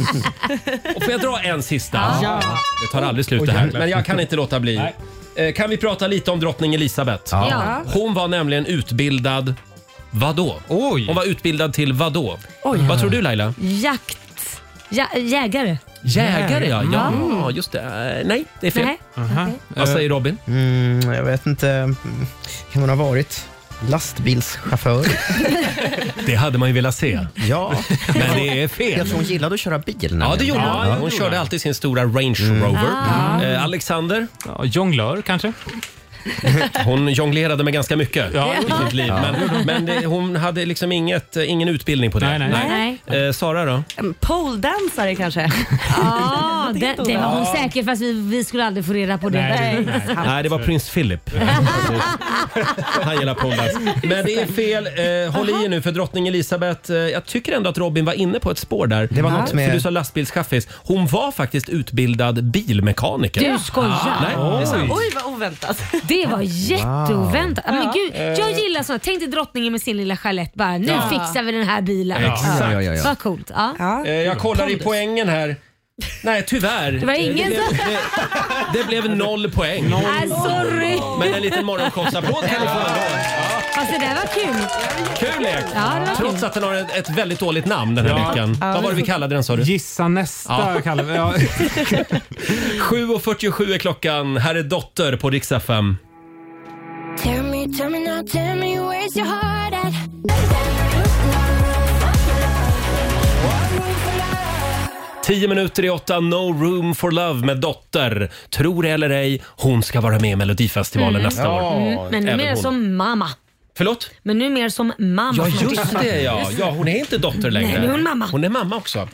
S1: Och får jag dra en sista?
S2: Ja.
S1: Det tar aldrig slut det här, men jag kan inte låta bli. Eh, Kan vi prata lite om drottning Elisabeth?
S5: Ja. Ja.
S1: Hon var nämligen utbildad vadå? Hon var utbildad till vadå? Vad tror du Laila?
S2: Jakt... Ja, jägare.
S1: Jägare ja, ja
S2: Mm.
S1: just det. Eh, Nej, det är fel.
S2: Nej, okej.
S1: Vad säger Robin?
S3: Eh, Mm, jag vet inte. Mm, Kan hon ha varit lastbilschaufför?
S1: Det hade man ju velat se.
S3: Ja.
S1: Men det är fel.
S3: Jag tror hon gillade att köra bil.
S1: Ja, det gjorde
S3: Ja, Mm. Ah.
S1: hon.
S3: det
S1: Hon
S3: gjorde
S1: körde alltid sin stora Range Rover. Eh, Alexander? jonglör kanske? Hon jonglerade med ganska mycket
S7: Ja.
S1: i sitt liv.
S7: Ja.
S1: Men, men det, hon hade liksom inget, ingen utbildning på det.
S7: Nej, nej.
S1: Eh, Sara då?
S9: En Poledansare kanske?
S2: Ja, det, det var hon
S1: Ja.
S2: säkert fast vi, vi skulle aldrig få reda på det.
S1: Nej, det var prins Philip. Han gillar poldans. Men det är fel. Eh, håll i er nu för drottning Elisabeth. Eh, jag tycker ändå att Robin var inne på ett spår där. Det
S3: var något med-
S1: För du sa lastbilschaffis. Hon var faktiskt utbildad bilmekaniker.
S9: Du skojar.
S1: Nej, det är sant.
S9: Oj, vad oväntat.
S2: Det var jätteoväntat.
S9: Wow.
S2: Men gud, jag
S1: Eh.
S2: gillar sånt. Tänk dig drottningen med sin lilla chalett bara. Nu
S1: Ja.
S2: fixar vi den här bilen.
S1: Exakt. Ja, ja, ja, ja.
S2: Vad coolt. Ja.
S1: Eh, jag kollar i poängen här. Nej, tyvärr.
S2: Det var
S1: Eh,
S2: ingen
S1: blev-
S2: som- Äh,
S1: det, det blev noll poäng.
S2: Nej, sorry.
S1: Men en liten morgonshowsapplåd kan ni få ändå.
S2: Fast det där var kul.
S1: Kul lek!
S2: Ja, det var
S1: Trots
S2: kul.
S1: att den har ett, ett väldigt dåligt namn den här
S7: Ja.
S1: veckan.
S7: Ja,
S1: Vad var det vi
S7: det-
S1: kallade den sa du?
S7: Gissa nästa
S1: Ja.
S7: kallar vi ja.
S1: 7.47 är klockan. Här är Dotter på Rix FM.
S10: Tell me, tell me now, tell me where's your heart at?
S1: Tio minuter i åtta, No Room for Love med Dotter. Tror eller ej, hon ska vara med i Melodifestivalen
S2: Mm.
S1: nästa år.
S2: Mm. Men
S1: Även
S2: numera
S1: hon.
S2: som mamma.
S1: Förlåt?
S2: Men numera som mamma.
S1: Ja,
S2: som
S1: just
S2: artist.
S1: det ja. ja. Hon är inte dotter längre.
S2: Nej, nu är hon mamma.
S1: Hon är mamma också. Eh,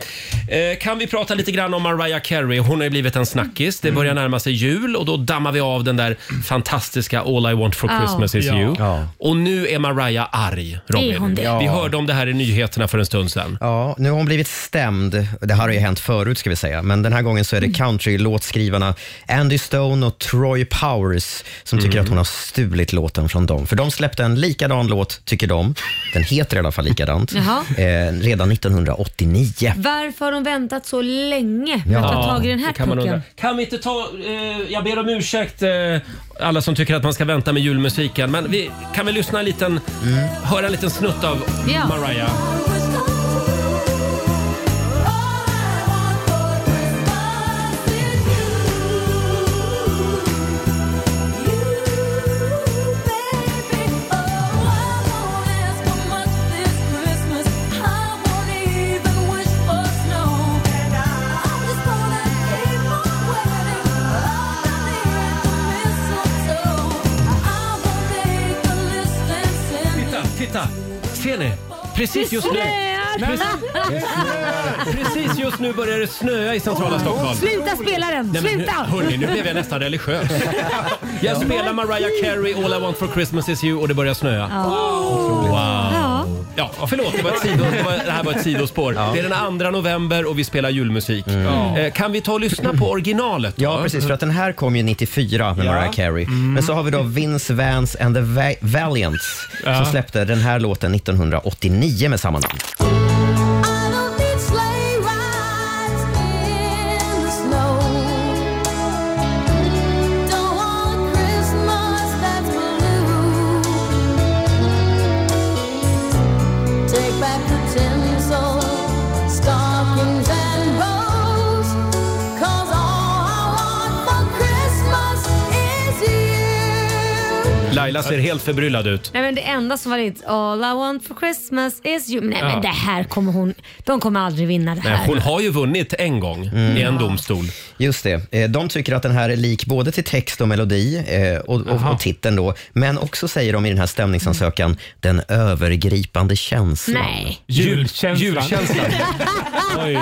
S1: kan vi prata lite grann om Mariah Carey? Hon har ju blivit en snackis. Det
S2: Mm.
S1: börjar närma sig jul och då dammar vi av den där fantastiska All I want for
S2: Ja.
S1: Christmas is
S2: Ja.
S1: you. Och nu är Mariah arg, Robin.
S2: Är hon det?
S1: Vi
S3: Ja.
S1: hörde om det här i nyheterna för en stund sedan.
S3: Ja, nu har hon blivit stämd. Det här har ju hänt förut ska vi säga, men den här gången så är
S2: Mm.
S3: det countrylåtskrivarna Andy Stone och Troy Powers som
S1: Mm.
S3: tycker att hon har stulit låten från dem. För de släppte en likadan låt, tycker de. Den heter i alla fall likadant.
S2: Jaha.
S3: Eh, redan 1989.
S2: Varför har de väntat så länge med att ta tag i den här
S1: det kan, man undra.
S2: pucken?
S1: kan vi inte ta... Eh, jag ber om ursäkt eh, alla som tycker att man ska vänta med julmusiken. Men vi, kan vi lyssna en liten... Höra en liten snutt av
S2: Ja.
S1: Mariah? Titta, titta! Ser ni? Precis
S5: Det
S1: just nu.
S5: snöar!
S1: Precis, precis just nu börjar det snöa i centrala Stockholm.
S2: Sluta spela den!
S1: Nej, men, nu-
S2: Sluta!
S1: hörni, nu blev jag nästan religiös. Jag spelar Mariah Carey All I want for Christmas is you och det börjar snöa.
S2: Ja.
S1: Wow.
S2: Ja.
S1: Ja, Ja, förlåt, det, var ett sido, det, var, det här var ett sidospår. Det är den 2 november och vi spelar julmusik. Eh, Kan vi ta och lyssna på originalet? då?
S3: Ja, precis. För att den här kom ju 94 med
S1: Ja. Mm.
S3: Mariah Carey. Men så har vi då Vince Vance and the Va- Valiants
S1: Ja.
S3: som släppte den här låten 1989 med samma namn.
S10: Take back the tinsel, stockings and bows. 'Cause all I want for Christmas is you.
S1: Laila ser helt förbryllad ut.
S2: Nej men det enda som var lite All I want for Christmas is you. Nej
S1: Ja.
S2: men det här kommer hon, de kommer aldrig vinna det
S1: Nej,
S2: här.
S1: hon har ju vunnit en gång i en domstol.
S3: Mm. Just det. Eh, De tycker att den här är lik både till text och melodi eh, och, och, och titeln då. Men också säger de i den här stämningsansökan, den övergripande känslan.
S2: Nej.
S1: Julkänslan. Oj.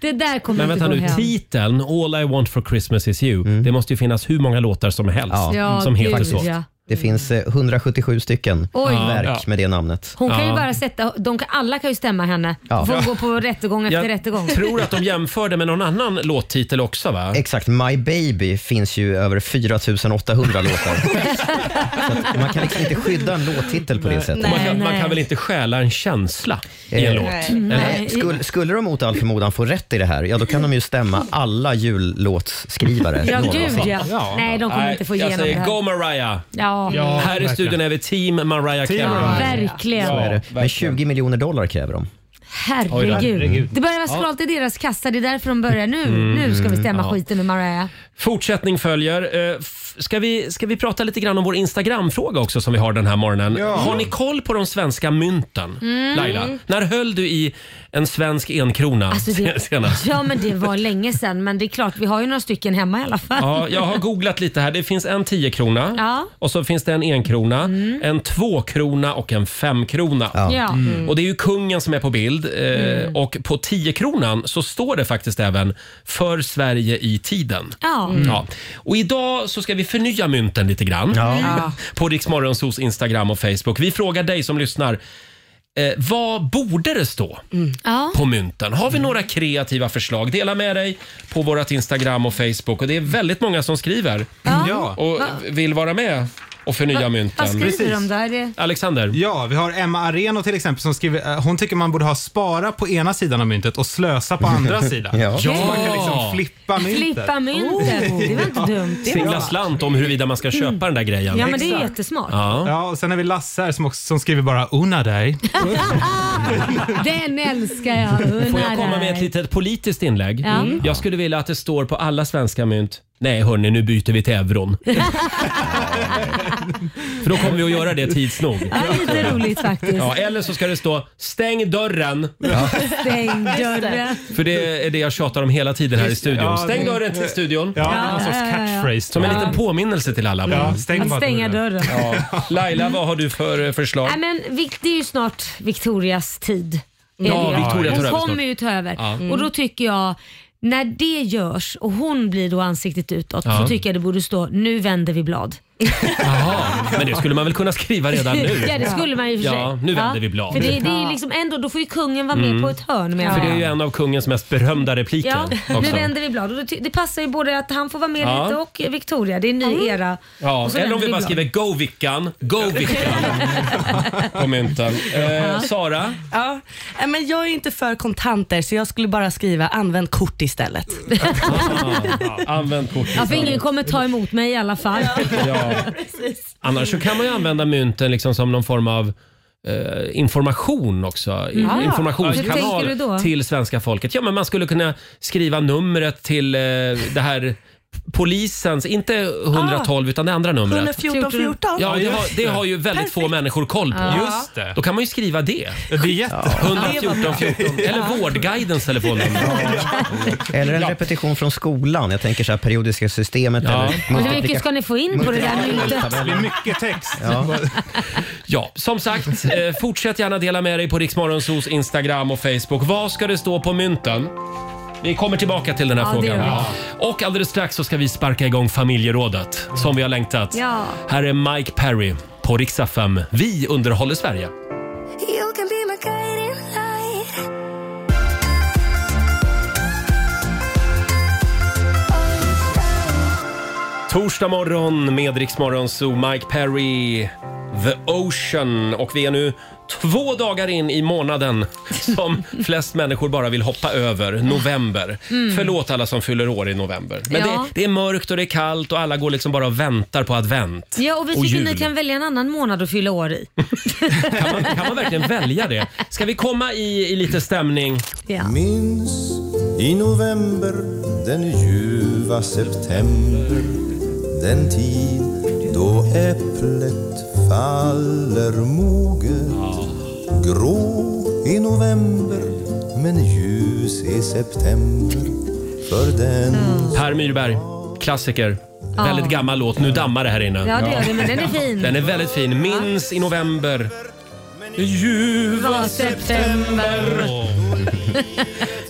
S2: Det där kommer
S1: Men
S2: inte
S1: vänta
S2: gå
S1: nu,
S2: hem.
S1: titeln All I want for Christmas is you. Det måste ju finnas hur många låtar som helst
S2: Ja,
S1: som heter
S2: gud,
S1: så.
S2: ja.
S3: Det finns eh, 177 stycken
S2: Oj.
S3: verk
S1: Ja.
S3: med det namnet.
S2: Hon kan ju bara sätta, de kan, alla kan ju stämma henne.
S3: Ja.
S2: Får hon
S3: Ja.
S2: gå på rättegång efter rättegång.
S1: Jag tror att de jämförde med någon annan låttitel också va?
S3: Exakt, My Baby finns ju över 4800 låtar. Så att man kan liksom inte skydda en låttitel på det sättet.
S1: Och man, kan, man kan väl inte stjäla en känsla i en
S3: Eh,
S1: låt?
S3: Nej. Skulle, skulle de mot all förmodan få rätt i det här, ja då kan de ju stämma alla jullåtsskrivare.
S2: Ja,
S3: någonsin.
S2: gud ja. Nej, de kommer inte få
S1: jag
S2: igenom det
S1: säger
S2: här.
S1: Go Mariah!
S2: Ja.
S1: här i
S3: verkligen.
S1: studion är vi team Mariah Carey.
S2: Team Mariah. Verkligen.
S3: Så är det. Men 20 miljoner dollar kräver de. Oj då.
S2: Herregud.
S3: Herregud.
S2: Det börjar vara
S1: Ja.
S2: skralt i deras kassa. Det är därför de börjar nu.
S1: Mm.
S2: Nu ska vi stämma
S1: Ja.
S2: skiten med Mariah.
S1: Fortsättning följer. Eh, f- Ska vi, ska vi prata lite grann om vår Instagram-fråga också som vi har den här morgonen?
S2: Ja.
S1: Har ni koll på de svenska mynten,
S2: Mm.
S1: Laila? När höll du i en svensk enkrona
S2: Alltså det,
S1: senast?
S2: ja men det var länge sedan men det är klart vi har ju några stycken hemma i alla fall.
S1: Ja, jag har googlat lite här. Det finns en 10-krona
S2: Ja. Mm.
S1: och så finns det en enkrona, en tvåkrona och en femkrona.
S2: Ja. Mm.
S1: Och det är ju kungen som är på bild eh,
S2: Mm.
S1: och på 10-kronan så står det faktiskt även “För Sverige i tiden”.
S2: Ja. Mm.
S1: Ja. Och idag så ska vi förnya mynten lite grann
S2: Ja.
S1: på Riksmorgonsos Instagram och Facebook. Vi frågar dig som lyssnar, eh, vad borde det stå?
S2: Ja.
S1: på mynten. Har vi några kreativa förslag? Dela med dig på vårt Instagram och Facebook. Och Det är väldigt många som skriver
S7: Ja.
S1: och
S2: Va-
S1: vill vara med och förnya mynten.
S2: Vad skriver de då? Är det...
S1: Alexander?
S7: Ja, vi har Emma Areno till exempel som skriver, eh, hon tycker man borde ha spara på ena sidan av myntet och slösa på andra sidan.
S1: Ja.
S7: Så man kan liksom flippa myntet. Oh.
S2: Flippa myntet. Det var inte dumt. Det var
S1: Singla
S2: bra.
S1: slant om huruvida man ska köpa
S2: Mm.
S1: den där grejen.
S2: Ja, men det är Exakt. jättesmart.
S1: Ja.
S7: Ja, och sen har vi Lasse här som, också, som skriver bara unna dig.
S2: Den älskar jag. Unna
S1: Får jag komma
S2: dig.
S1: med ett litet politiskt inlägg?
S2: Ja. Mm.
S1: Jag skulle vilja att det står på alla svenska mynt. Nej hörni, nu byter vi till euron. För då kommer vi att göra det tids nog.
S2: Ja, lite roligt faktiskt.
S1: Ja, eller så ska det stå “Stäng dörren”.
S2: Stäng dörren.
S1: För det är det jag tjatar om hela tiden här i studion.
S7: Ja,
S1: stäng
S7: det-
S1: dörren till studion.
S7: Ja, det var någon sorts
S2: Ja, ja, ja. catchphrase,
S1: Som en
S2: tror jag.
S1: liten påminnelse till alla.
S7: Ja, stäng
S2: Att bara stänga dörren. dörren.
S1: Ja. Laila, vad har du för eh, förslag?
S2: Nej, men Vic- det är ju snart Victorias tid. Är
S1: Ja,
S2: det ju.
S1: Victoria tar över
S2: hon
S1: snart.
S2: kommer ju ta över.
S1: Ja.
S2: Och då tycker jag, när det görs och hon blir då ansiktet utåt,
S1: Ja.
S2: så tycker jag det borde stå nu vänder vi blad.
S1: Jaha, men det skulle man väl kunna skriva redan nu?
S2: ja, det skulle man ju för sig.
S1: Ja, nu vänder
S2: Ja,
S1: vi blad.
S2: För det, det är ju liksom ändå, då får ju kungen vara med
S1: Mm.
S2: på ett hörn menar
S1: För det är
S2: jag.
S1: ju en av kungens mest berömda repliker.
S2: Ja, nu
S1: också.
S2: vänder vi blad. Och då ty- det passar ju både att han får vara med
S1: Ja.
S2: lite och Victoria. Det är en ny era.
S1: Ja,
S2: Och så
S1: eller
S2: vänder
S1: om vi bara
S2: blad.
S1: skriver “Go Vickan”, “Go Vickan” på mynten. Eh,
S9: Ja.
S1: Sara?
S9: Ja, äh, men jag är inte för kontanter så jag skulle bara skriva använd kort istället.
S1: Ja, Använd kortet.
S2: Ja, för ingen kommer ta emot mig i alla fall.
S1: Ja. Annars så kan man ju använda mynten liksom som någon form av eh, information också. I-
S2: Ja. Mm. Ah. Hur tänker du då?
S1: Informationskanal till svenska folket. Ja, men man skulle kunna skriva numret till eh, det här Polisens, inte
S2: Ah.
S1: 112 utan det andra numret.
S9: 114 14.
S1: Ja, det har, det har ju väldigt få människor koll på.
S9: Ja. Just
S1: det. Då kan man ju skriva det.
S7: Det är jättebra.
S1: 114 14. Eller Vårdguidens telefonnummer.
S3: Eller en repetition från skolan. Jag tänker så här periodiska systemet
S1: Ja.
S3: eller
S1: Hur
S2: Men Hur
S3: multiplika-
S2: mycket ska ni få in på det där myntet?
S7: Det är mycket text.
S3: Ja.
S1: Ja, som sagt, eh, fortsätt gärna dela med dig på Riksmorgonsos Instagram och Facebook. Vad ska det stå på mynten? Vi kommer tillbaka till den här
S2: Ja, det
S1: frågan.
S2: gör vi. Ja.
S1: Och alldeles strax så ska vi sparka igång familjerådet som vi har längtat.
S2: Ja.
S1: Här är Mike Perry på Riksaffären. Vi underhåller Sverige.
S10: You can be my guiding light.
S1: Torsdag morgon med Rix Morgon Zoo, Mike Perry, The Ocean och vi är nu två dagar in i månaden som flest människor bara vill hoppa över, november.
S5: Mm.
S1: Förlåt alla som fyller år i november. Men
S2: Ja.
S1: det, det är mörkt och det är kallt och alla går liksom bara och väntar på advent.
S2: Ja, och vi tycker
S1: jul.
S2: ni kan välja en annan månad att fylla år i.
S1: Kan man verkligen välja det? Ska vi komma i, i lite stämning?
S2: Ja.
S1: Mm.
S5: Minns i november den ljuva september Den tid då äpplet faller moget Grå i november men ljus i september För den
S1: Per Myrberg, klassiker.
S2: Mm. Ja.
S1: Väldigt gammal låt. Nu dammar det här inne.
S2: Ja, det gör det, men den är fin.
S1: Den är väldigt fin. Minns i november. Ljuva
S2: september.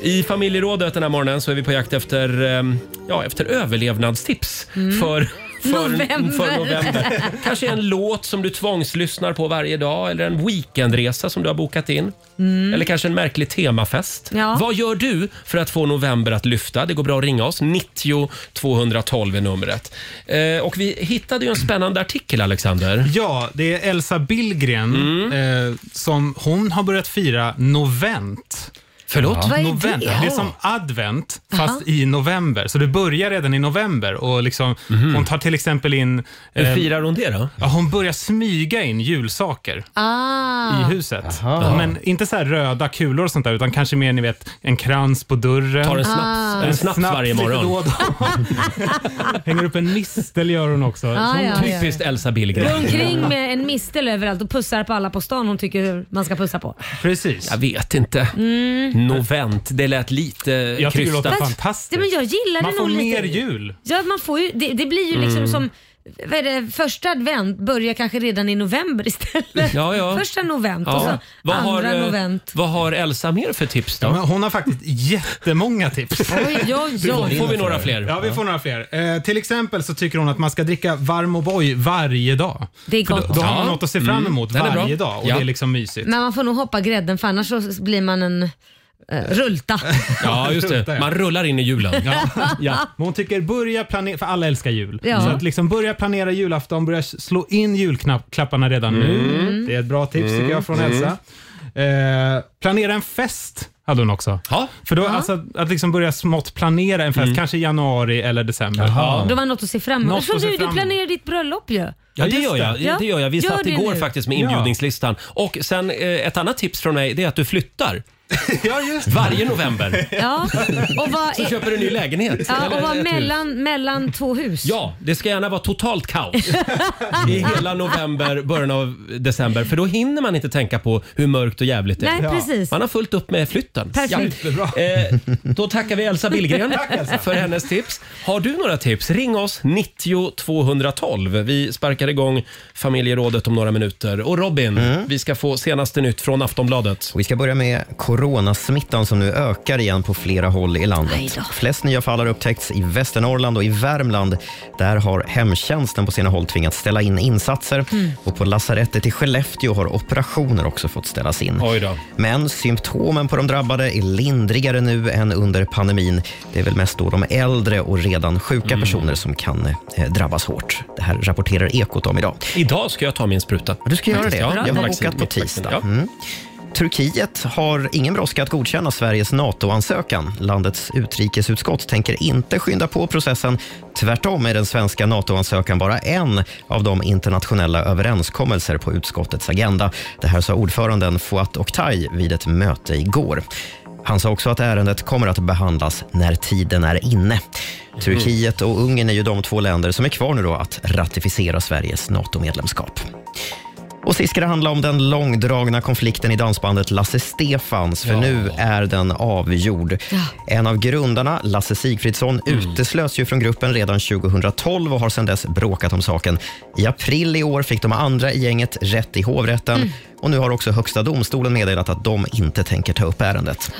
S1: I familjerådet den här morgonen så är vi på jakt efter, eh, ja, efter överlevnadstips
S2: Mm.
S1: för, för,
S5: November.
S1: för november. Kanske en låt som du tvångslyssnar på varje dag eller en weekendresa som du har bokat in.
S2: Mm.
S1: Eller kanske en märklig temafest.
S2: Ja.
S1: Vad gör du för att få november att lyfta? Det går bra att ringa oss. 90 212 är numret. Eh, och vi hittade ju en spännande artikel, Alexander.
S7: Ja, det är Elsa Billgren
S1: Mm.
S7: eh, som hon har börjat fira novent.
S1: Förlåt? Vad är det?
S7: novent. det? är som advent, fast
S1: Aha.
S7: i november. Så det börjar redan i november. Och liksom, Hon tar till exempel in...
S1: Mhm.
S7: eh,
S1: Hur firar hon det då?
S7: Ja, hon börjar smyga in julsaker
S2: Ah.
S7: i huset. Men inte så här röda kulor och sånt där, utan kanske mer ni vet, en krans på dörren.
S1: Tar en snaps- Ah. en snaps varje
S7: lite
S1: morgon.
S7: Då och då. Hänger upp en mistel gör hon också.
S2: Ah,
S7: Så-
S2: ja, ja, ja. Typiskt
S1: Elsa Billgren.
S2: Går omkring med en mistel överallt och pussar på alla på stan hon tycker man ska pussa på.
S7: Precis.
S1: Jag vet inte.
S2: Mm.
S1: Novent, det lät lite
S7: Jag tycker det låter
S1: krystat.
S7: fantastiskt.
S2: Ja, men jag gillar
S7: Man
S2: det
S7: får
S2: nog lite.
S7: mer jul.
S2: Ja, man får ju, det, det blir ju liksom
S1: Mm.
S2: som vad är det, första advent börjar kanske redan i november istället.
S1: Ja, ja.
S2: Första novent och
S1: Ja.
S2: så
S1: Vad, har,
S2: andra
S1: eh,
S2: novent.
S1: vad har Elsa mer för tips då?
S7: hon har faktiskt jättemånga tips.
S2: Oj, oj, oj.
S1: Får vi några fler?
S7: Ja, vi får några fler. Eh, till exempel så tycker hon att man ska dricka varm O'boy varje dag.
S2: Det är
S7: För
S2: gott.
S7: Då, då har man
S2: Ja.
S7: något att se fram
S1: Mm.
S7: emot
S1: Den är bra.
S7: varje dag och
S1: Ja.
S7: det är liksom mysigt.
S2: Men man får nog hoppa grädden för annars så blir man en eh, rulta.
S1: Ja, just det. Man rullar in i julen.
S7: Ja. Ja. Men hon tycker börja planera, för alla älskar jul.
S2: Ja.
S7: Så att liksom börja planera julafton, börja slå in julklapparna redan nu.
S1: Mm.
S7: Det är ett bra tips
S1: Mm.
S7: tycker jag från
S1: Mm.
S7: Elsa. Eh, planera en fest hade hon också. För då, alltså, att- att liksom börja smått planera en fest,
S1: Mm.
S7: kanske i januari eller december. Ja.
S2: Då var något att se fram emot.
S7: Något
S2: Jag tror
S7: att se
S2: du, du
S7: fram
S2: planerar ditt bröllop ju.
S1: Ja, det gör jag.
S2: Ja.
S1: Det gör jag. Vi
S2: Gör
S1: satt
S2: det
S1: igår
S2: nu.
S1: faktiskt med inbjudningslistan. Och sen eh, ett annat tips från mig det är att du flyttar.
S7: Ja, just
S1: Varje november.
S2: Ja. Och vad,
S1: Så köper du en ny lägenhet.
S2: ja,
S1: Eller
S2: och
S1: ett
S2: vad
S1: hus.
S2: mellan, mellan två hus.
S1: Ja, det ska gärna vara totalt kaos i hela november, början av december. För då hinner man inte tänka på hur mörkt och jävligt det är.
S2: Nej, Ja. precis.
S1: Man har fullt upp med flytten.
S2: Perfekt.
S1: Eh, då tackar vi Elsa Billgren
S5: Tack, Elsa.
S1: för hennes tips. Har du några tips? Ring oss 90 212. Vi sparkar igång familjerådet om några minuter. Och Robin, vi ska få senaste nytt från Aftonbladet.
S3: Och vi ska börja med coronasmittan som nu ökar igen på flera håll i
S2: Aj
S3: landet.
S2: då.
S3: Flest nya fall har upptäckts i Västernorrland och i Värmland. Där har hemtjänsten på sina håll tvingats ställa in insatser
S2: Mm.
S3: och på lasarettet i Skellefteå har operationer också fått ställas in. Men symptomen på de drabbade är lindrigare nu än under pandemin. Det är väl mest då de äldre och redan sjuka
S1: Mm.
S3: personer som kan eh, drabbas hårt. Det här rapporterar Ekot om idag.
S1: Idag ska jag ta min spruta.
S3: Du ska göra det?
S1: Ja,
S3: jag har
S1: vaccin-
S3: bokat på
S1: mitt vaccin,
S3: tisdag.
S1: ja.
S3: Mm. Turkiet har ingen brådska att godkänna Sveriges NATO-ansökan. Landets utrikesutskott tänker inte skynda på processen. Tvärtom är den svenska NATO-ansökan bara en av de internationella överenskommelser på utskottets agenda. Det här sa ordföranden Fuat Oktay vid ett möte igår. Han sa också att ärendet kommer att behandlas när tiden är inne. Turkiet och Ungern är ju de två länder som är kvar nu då att ratificera Sveriges NATO-medlemskap. Och sist ska det handla om den långdragna konflikten i dansbandet Lasse Stefans för nu är den avgjord. En av grundarna, Lasse Sigfridsson, uteslöts ju från gruppen redan 2012 och har sedan dess bråkat om saken. I april i år fick de andra i gänget rätt i hovrätten Och nu har också Högsta domstolen meddelat att de inte tänker ta upp ärendet.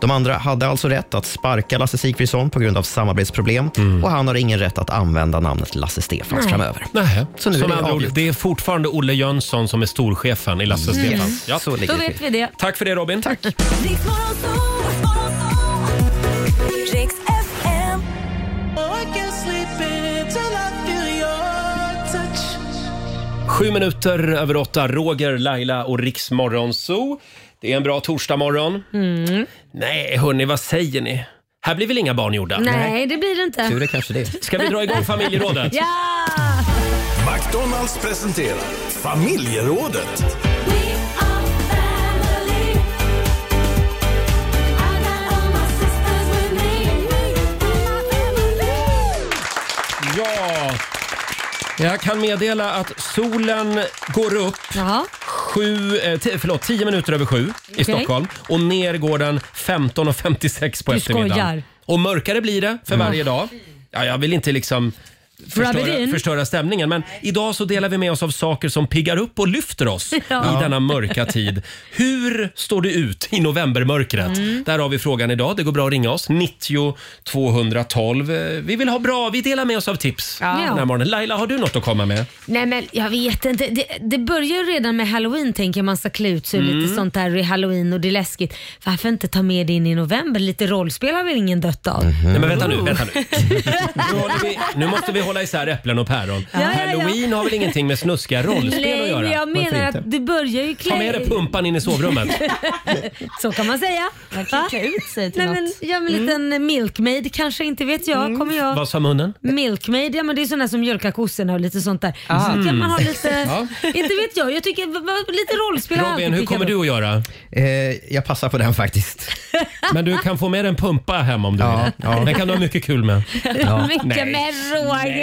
S3: De andra hade alltså rätt att sparka Lasse Sigfridsson på grund av samarbetsproblem och han har ingen rätt att använda namnet Lasse Stefans
S1: Nej.
S3: framöver.
S1: Nej.
S3: Så
S1: Så
S3: nu
S1: nu
S3: är det
S1: andra ord,
S3: avgjort.
S1: det är fortfarande Olle Jönsson som är storchefen i Lasse
S2: Mm.
S1: Stefan.
S2: Yes. Så ligger Då det vet till. vi det.
S1: Tack för det Robin. Tack.
S5: Riks FM. Oh, I can't sleep until I feel your touch.
S1: Sju minuter över åtta, Roger, Laila och Riksmorgon Zoo. Det är en bra torsdagmorgon.
S2: Mm.
S1: Nej, hörni, vad säger ni? Här blir väl inga barn gjorda?
S2: Nej, det blir det inte.
S3: kanske det.
S1: Ska vi dra igång familjerådet?
S2: ja!
S5: McDonalds presenterar familjerådet.
S1: Ja! Jag kan meddela att solen går upp sju, eh, t- förlåt, tio minuter över sju i
S2: Okej.
S1: Stockholm och ner går den 15.56 på
S2: Du
S1: eftermiddagen.
S2: skojar.
S1: Och mörkare blir det för
S2: Mm.
S1: varje dag. Ja, jag vill inte liksom
S2: Rub it
S1: förstöra,
S2: in.
S1: förstöra stämningen men idag så delar vi med oss av saker som piggar upp och lyfter oss
S2: Ja.
S1: i denna mörka tid. Hur står det ut i novembermörkret?
S2: Mm.
S1: Där har vi frågan idag. Det går bra att ringa oss. 90 212. Eh, Vi vill ha bra, vi delar med oss av tips
S2: Ja.
S1: den här morgonen. Laila, har du något att komma med?
S3: Mm.
S2: Nej men jag vet inte. Det, det börjar ju redan med halloween tänker jag. Man ska klä ut sig och
S1: Mm.
S2: lite sånt där i halloween och det är läskigt. Varför inte ta med det in i november? Lite rollspel har väl ingen dött av?
S1: Nej men vänta nu, vänta nu. Nu, håller vi, nu måste vi hålla isär äpplen och päron.
S2: Ja, ja, ja.
S1: Halloween har väl ingenting med snuskiga rollspel att
S2: Nej,
S1: göra?
S2: men jag menar
S1: Varför
S2: att
S1: inte?
S2: du börjar ju klä
S1: Ta med dig pumpan in i sovrummet.
S2: Så kan man säga. Man kan klä ut sig till Nej, men, ja, men en liten milkmaid kanske, inte vet jag. Kommer jag...
S1: Mm. Vad sa munnen?
S2: Milkmaid, ja men det är sådana som mjölkar kossorna och lite sånt där.
S1: Ah.
S2: Så kan man ha
S1: Mm.
S2: lite,
S1: Ja.
S2: inte vet jag, jag tycker v- v- lite rollspel har alltid piggat upp.
S1: att göra?
S3: Eh, jag passar på den faktiskt.
S1: Men du kan få med dig en pumpa hem om du vill. Den kan du ha mycket kul med.
S2: Mycket
S1: Nej.
S2: med Roger.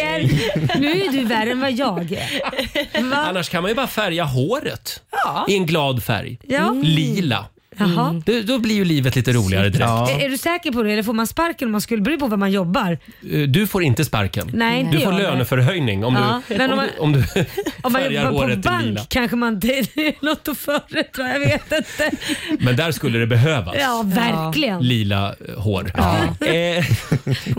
S2: Nu är du värre än vad jag är. Va?
S1: Annars kan man ju bara färga håret
S2: Ja.
S1: i en glad färg.
S2: Ja. Mm.
S1: Lila. Mm.
S2: Jaha.
S1: Det, då blir ju livet lite roligare direkt.
S2: Är, är du säker på det eller får man sparken om man skulle bry på vad man jobbar?
S1: Eh, Du får inte sparken.
S2: Nej, inte
S1: du får
S2: jag.
S1: löneförhöjning om,
S2: Ja,
S1: du,
S2: men
S1: om,
S2: om
S1: du, om du
S2: Om man
S1: färgar
S2: jobbar på
S1: håret i lila.
S2: bank kanske man det är något att föredra, jag vet inte.
S1: Men där skulle det behövas.
S2: Ja, verkligen.
S1: Lila eh, hår. Eh,
S9: bara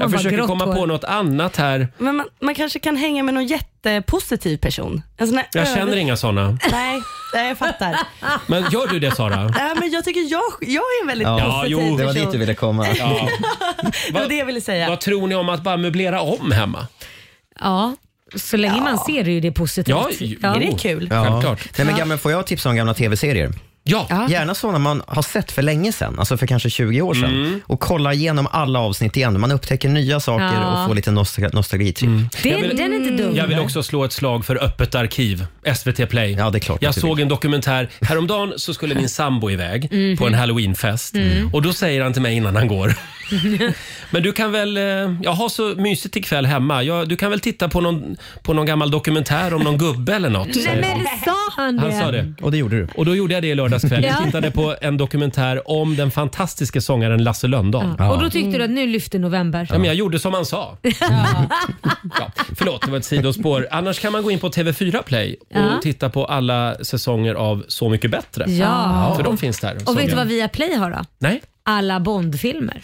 S1: jag försöker
S9: grått
S1: komma på
S9: hår.
S1: något annat här.
S9: Men man, man kanske kan hänga med någon jättepositiv person. En sån här
S1: Jag
S9: över-
S1: känner inga sådana.
S9: Nej, nej, jag fattar.
S1: Men gör du det Sara?
S9: Nej, men jag tycker jag, jag är en väldigt positiv person.
S3: det var dit du ville komma.
S1: Ja.
S9: Det var det jag ville säga.
S1: Vad tror ni om att bara möblera om hemma?
S2: Ja, så länge man ser det ju det positivt.
S3: Ja.
S1: Självklart.
S3: Nej, men
S2: Ja.
S3: gamla, får jag tipsa om gamla tv-serier?
S1: Ja.
S3: Gärna sådana man har sett för länge sedan, alltså för kanske 20 år sedan. Och kolla igenom alla avsnitt igen. Man upptäcker nya saker
S2: Ja.
S3: och får lite nostal- nostalgitripp.
S2: Det, den är inte dum.
S1: Jag vill också slå ett slag för öppet arkiv, SVT Play. Ja,
S3: det är klart
S1: jag
S3: att du vill.
S1: såg en dokumentär. Häromdagen så skulle min sambo iväg
S2: Mhm.
S1: på en halloweenfest
S2: Mm.
S1: och då säger han till mig innan han går. Men du kan väl, eh, jag har så mysigt ikväll hemma. Jag, du kan väl titta på någon, på någon gammal dokumentär om någon gubbe eller något?
S2: Nej
S1: säger han.
S2: men sa han det?
S1: Han sa det.
S3: Och det gjorde du.
S1: Och då gjorde jag det i lördags kväll. Jag
S2: Ja.
S1: tittade på en dokumentär om den fantastiska sångaren Lasse Lönndahl.
S2: Och då tyckte du att nu lyfter november.
S1: Ja, men jag gjorde som han sa. Ja. förlåt, det var ett sidospår. Annars kan man gå in på TV4 Play och
S2: Ja.
S1: titta på alla säsonger av Så mycket bättre.
S2: Ja.
S1: För de finns där.
S2: Och
S1: såg
S2: vet du
S1: jag.
S2: vad Viaplay har då?
S1: Nej?
S2: Alla Bond-filmer.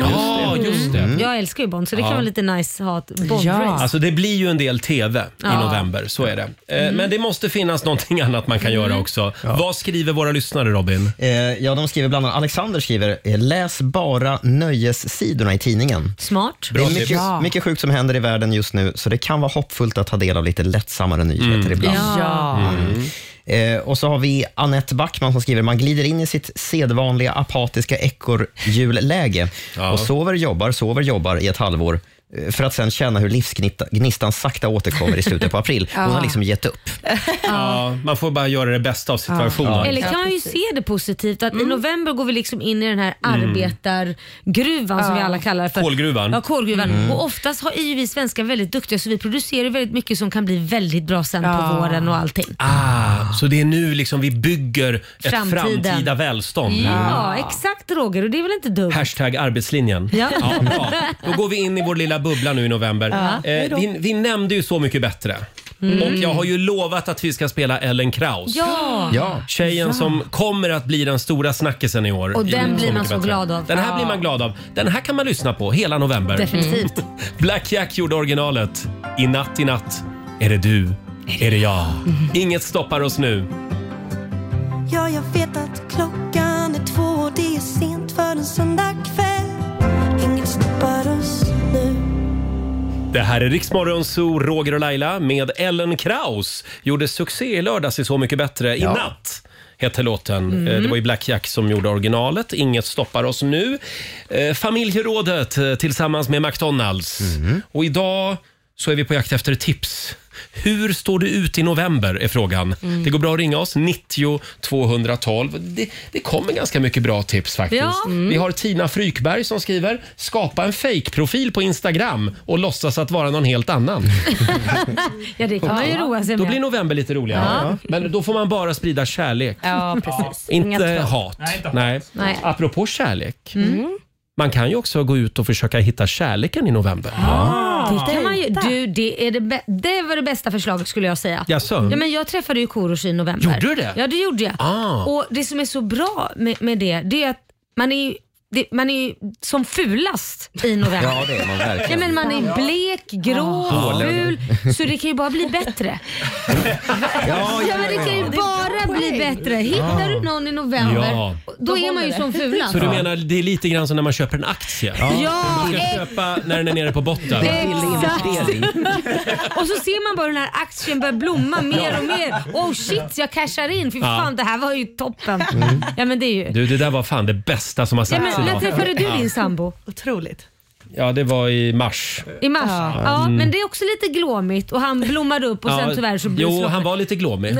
S1: Ja, just det.
S2: Mm. Jag älskar ju Bond så det
S1: Ja.
S2: kan vara lite nice att ha ett Bond-race.
S1: Alltså det blir ju en del TV i
S2: Ja.
S1: november, så är det. Eh,
S2: Mm.
S1: Men det måste finnas någonting annat man kan göra också. Vad skriver våra lyssnare Robin?
S3: Eh, ja, de skriver bland annat, Alexander skriver, eh, läs bara nöjessidorna i tidningen.
S2: Smart.
S3: det är mycket, mycket sjukt som händer i världen just nu, så det kan vara hoppfullt att ta del av lite lättsammare
S1: Mm.
S3: nyheter ibland.
S9: Ja.
S3: Mm. Eh, och så har vi Annette Backman som skriver, man glider in i sitt sedvanliga apatiska ekorrhjulläge och sover, jobbar, sover, jobbar i ett halvår eh, för att sen känna hur livsgnistan sakta återkommer i slutet på april. Hon har
S2: Ja.
S3: liksom gett upp.
S1: Ja, man får bara göra det bästa av situationen.
S2: Eller kan man ju se det positivt att i november går vi liksom in i den här arbetargruvan som vi alla kallar för.
S1: Mm. Kolgruvan.
S2: Ja, kolgruvan.
S1: Mm.
S2: Och oftast har ju vi svenskar väldigt duktiga så vi producerar väldigt mycket som kan bli väldigt bra sen på våren och allting.
S1: Ah, så det är nu liksom vi bygger ett
S2: Framtiden.
S1: framtida välstånd.
S2: Ja, exakt Roger och det är väl inte dumt?
S1: Hashtag arbetslinjen.
S2: Ja.
S1: bra. Då går vi in i vår lilla bubbla nu i november.
S2: Ja,
S1: Eh,
S2: hejdå.
S1: vi, vi nämnde ju Så mycket bättre
S2: Mm.
S1: Och jag har ju lovat att vi ska spela Ellen Kraus.
S2: Ja. Ja.
S1: Tjejen
S2: Ja.
S1: som kommer att bli den stora snackisen i år.
S2: Och
S1: i
S2: den blir
S1: mycket
S2: man så
S1: bättre.
S2: glad av.
S1: Den här
S2: Ja.
S1: blir man glad av. Den här kan man lyssna på hela november.
S2: Definitivt.
S1: Black Jack gjorde originalet. I natt, i natt är det du, är det jag.
S2: Mm.
S1: Inget stoppar oss nu.
S10: Ja, jag vet att klockan är två och det är sent för en söndagkväll. Inget stoppar oss nu.
S1: Det här är Riksmorgon Zoo, Roger och Laila med Ellen Kraus. Gjorde succé i lördags i Så mycket bättre. I
S5: Ja.
S1: natt hette låten.
S5: Mm.
S1: Eh, Det var ju Black Jack som gjorde originalet. Inget stoppar oss nu. Eh, Familjerådet eh, tillsammans med McDonalds.
S5: Mm.
S1: Och idag så är vi på jakt efter tips. Hur står det ut i november är frågan.
S5: Mm.
S1: Det går bra att ringa oss, 90 212. Det, det kommer ganska mycket bra tips faktiskt.
S5: Ja. Mm.
S1: Vi har Tina Frykberg som skriver “Skapa en fake-profil på Instagram och låtsas att vara någon helt annan”.
S2: Ja, det kan man ju roa sig
S1: Då
S2: med.
S1: blir november lite roligare.
S2: Ja.
S1: Men då får man bara sprida kärlek.
S2: Ja, precis.
S1: Inte
S2: Inget
S1: hat.
S2: Nej, inte hat.
S1: Nej.
S2: Nej.
S1: Apropå kärlek.
S2: Mm.
S1: Man kan ju också gå ut och försöka hitta kärleken i november.
S2: Det kan man ju, du, det, är det, bä- det var det bästa förslaget skulle jag säga.
S1: Jaså?
S2: Ja, men jag träffade ju Korosh i november.
S1: Gjorde du det?
S2: Ja, det gjorde jag.
S1: Ah.
S2: Och Det som är så bra med, med det, det är att man är ju det, man är ju som fulast i november.
S5: Ja, det är man verkligen. Ah.
S2: Nej, men man är blek, grå,
S5: Ja.
S2: ful. Så det kan ju bara bli bättre.
S5: Ja,
S2: ja, men det kan ju bara bli bättre. Hittar
S1: Ja.
S2: du någon i november,
S1: Ah. Ja.
S2: då är man ju som fulast.
S1: Så du menar, det är lite grann som när man köper en aktie?
S2: Ja. Ja,
S1: Man ska
S2: ex-
S1: köpa när den är nere på botten.
S2: Exakt. och så ser man bara den här aktien börjar blomma mer och mer. Oh shit, jag cashar in. Fy
S1: Ja. Mm.
S2: fan, det här var ju toppen. Ja men det är ju...
S1: Du, det där var fan det bästa som har
S2: Ja,
S1: sagts
S2: men, när
S1: idag.
S2: träffade du
S1: Ja.
S2: din sambo? Otroligt.
S1: Ja, det var i mars.
S2: I mars?
S1: Ja.
S2: Ja,
S1: Mm.
S2: men det är också lite glåmigt och han blommade upp och
S1: ja,
S2: sen tyvärr så blev
S1: Jo,
S2: slå-
S1: han var lite glåmig.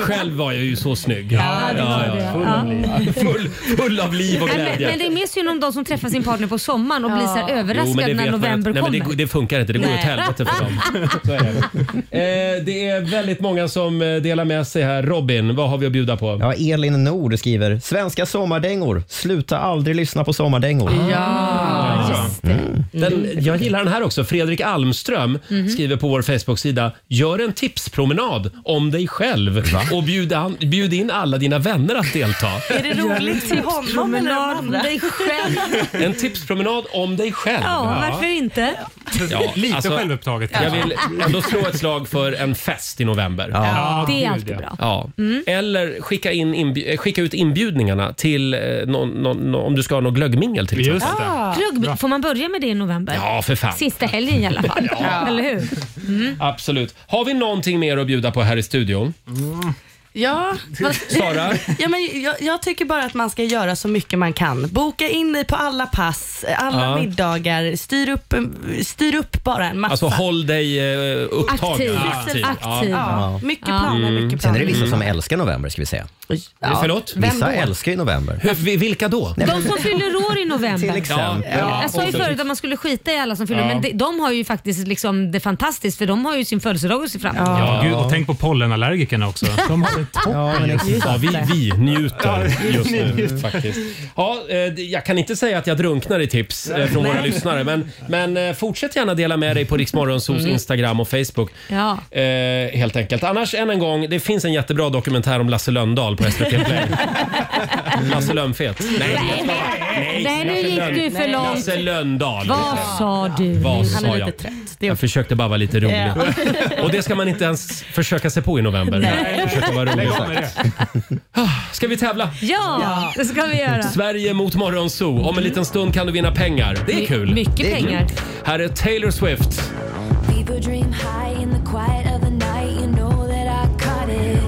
S1: Själv var jag ju så snygg.
S2: Ja, det var det.
S1: Full, av liv. Full, full av liv och
S2: Nej,
S1: glädje.
S2: men, men det är mer synd om de som träffar sin partner på sommaren och blir så här
S1: Jo, men det
S2: överraskade när
S1: vet man
S2: november
S1: att- Nej,
S2: kommer.
S1: men det, det funkar inte. Det går
S2: Nej.
S1: åt helvete för dem. Så är det. Eh, det är väldigt många som eh, delar med sig här. Robin, vad har vi att bjuda på?
S3: Ja, Elin Nord skriver “Svenska sommardängor. Sluta aldrig lyssna på sommardängor”. Mm.
S1: Ja,
S3: just det.
S2: Mm.
S1: Den, jag gillar den här också. Fredrik Almström
S2: Mhm.
S1: skriver på vår Facebook-sida “Gör en tipspromenad om dig själv och bjud, an, bjud in alla dina vänner att delta”.
S9: Är det roligt till honom eller de
S2: Promenad
S9: andra?
S2: dig själv.
S1: En tipspromenad om dig själv.
S2: Ja, varför inte?
S7: Lite självupptaget
S1: alltså, Jag
S7: kanske.
S1: vill ändå slå ett slag för en fest i november.
S2: Ja. Ja, det är gud, alltid ja. bra. Mm.
S1: Ja. Eller skicka, in inbju- eh, skicka ut inbjudningarna till eh, någon, någon, någon, om du ska ha något glöggmingel till exempel.
S2: Ah. Plugg, får man börja med det i november?
S1: Ja, för fan.
S2: Sista helgen i alla fall. Eller hur? Mm.
S1: Absolut. Har vi någonting mer att bjuda på här i studion?
S9: Ja, vad-
S1: Sara?
S9: ja, men jag, jag tycker bara att man ska göra så mycket man kan. Boka in dig på alla pass, alla
S1: Ja.
S9: middagar, styr upp, styr upp bara en massa.
S1: Alltså håll dig eh, upptagen.
S9: Aktiv. Aktiv. Ja. Mycket planer, mycket planer.
S3: Sen är det vissa som
S1: Mm.
S3: älskar november ska vi säga.
S1: Ja. Förlåt? Vem
S3: Vissa
S1: då?
S3: älskar ju november.
S1: vilka då?
S2: De som fyller år i november.
S3: Till exempel.
S2: Ja.
S3: Ja.
S2: Jag sa ju förut att man skulle skita i alla som fyller
S7: Ja.
S2: men de, de har ju faktiskt liksom det fantastiskt för de har ju sin födelsedag att se fram emot.
S7: Ja, gud, och tänk på pollenallergikerna också. De har det toppen just nu.
S1: Ja, vi, vi njuter just
S7: ni
S1: nu
S7: njuter.
S1: faktiskt. Ja, eh, jag kan inte säga att jag drunknar i tips eh, från
S5: Nej.
S1: våra lyssnare, men, men eh, fortsätt gärna dela med dig på Riksmorgonsos
S5: Mm.
S1: Instagram och Facebook.
S2: Ja.
S1: Eh, helt enkelt. Annars än en gång, det finns en jättebra dokumentär om Lasse Lönndahl på SVT Play. Lasse Lönnfet. Nej, jag skojar.
S2: Nej, nu
S1: Lasse
S2: gick du
S1: Lönn-
S2: för långt.
S1: Lasse Lönndahl.
S2: Vad sa du?
S1: Vad sa
S2: Han är
S1: jag?
S2: lite trött.
S1: Jag försökte bara vara lite rolig.
S2: Ja.
S1: Och det ska man inte ens försöka sig på i november.
S2: Nej.
S1: Försöka vara rolig.
S5: Lägg av med
S1: Ah, Ska vi tävla?
S2: Ja, det ska vi göra.
S1: Sverige mot Morgonzoo. Om en liten stund kan du vinna pengar. Det är
S2: My-
S1: kul.
S2: mycket
S1: Det är kul.
S2: pengar.
S1: Här är Taylor Swift.
S10: People dream high in the quiet of the night. You know that I caught it.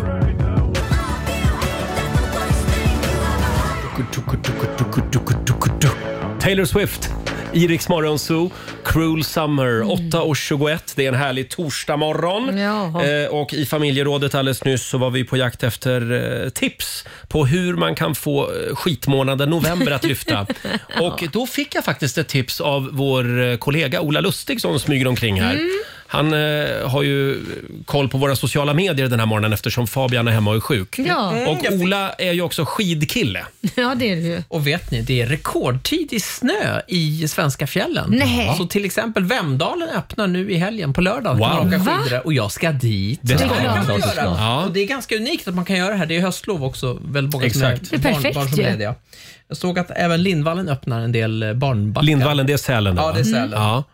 S1: Taylor Swift. I Rix Morgonzoo, Cruel Summer,
S2: Mm.
S1: 8.21. Det är en härlig torsdagmorgon. Eh, och I familjerådet alldeles nyss så var vi på jakt efter eh, tips på hur man kan få eh, skitmånaden november att lyfta.
S5: Ja.
S1: Och då fick jag faktiskt ett tips av vår eh, kollega Ola Lustig som smyger omkring här.
S5: Mm.
S1: Han eh, har ju koll på våra sociala medier den här morgonen eftersom Fabian är hemma och är sjuk.
S2: Ja. Mm, jag
S1: Och
S2: fick-
S1: Ola är ju också skidkille.
S2: Ja, det är det ju.
S8: Och vet ni, det är rekordtid i snö i svenska fjällen.
S2: Nej.
S8: Så till exempel Vemdalen öppnar nu i helgen på lördag.
S1: Wow.
S8: Kan man åka
S1: Va?
S8: skidor och jag ska dit.
S1: Det ska
S8: det
S1: du.
S8: kan man
S1: Klart du ska.
S8: göra.
S1: Ja.
S8: Och det är ganska unikt att man kan göra det här. Det är höstlov också. Väl många som
S1: Exakt. Det är
S8: barn-
S1: perfekt
S8: barn som
S1: ju.
S8: är lediga. Jag såg att även Lindvallen öppnar en del eh, barnbackar.
S1: Lindvallen, det är Sälen då,
S8: Ja, det
S1: va?
S8: är Sälen.
S1: Mm. Ja.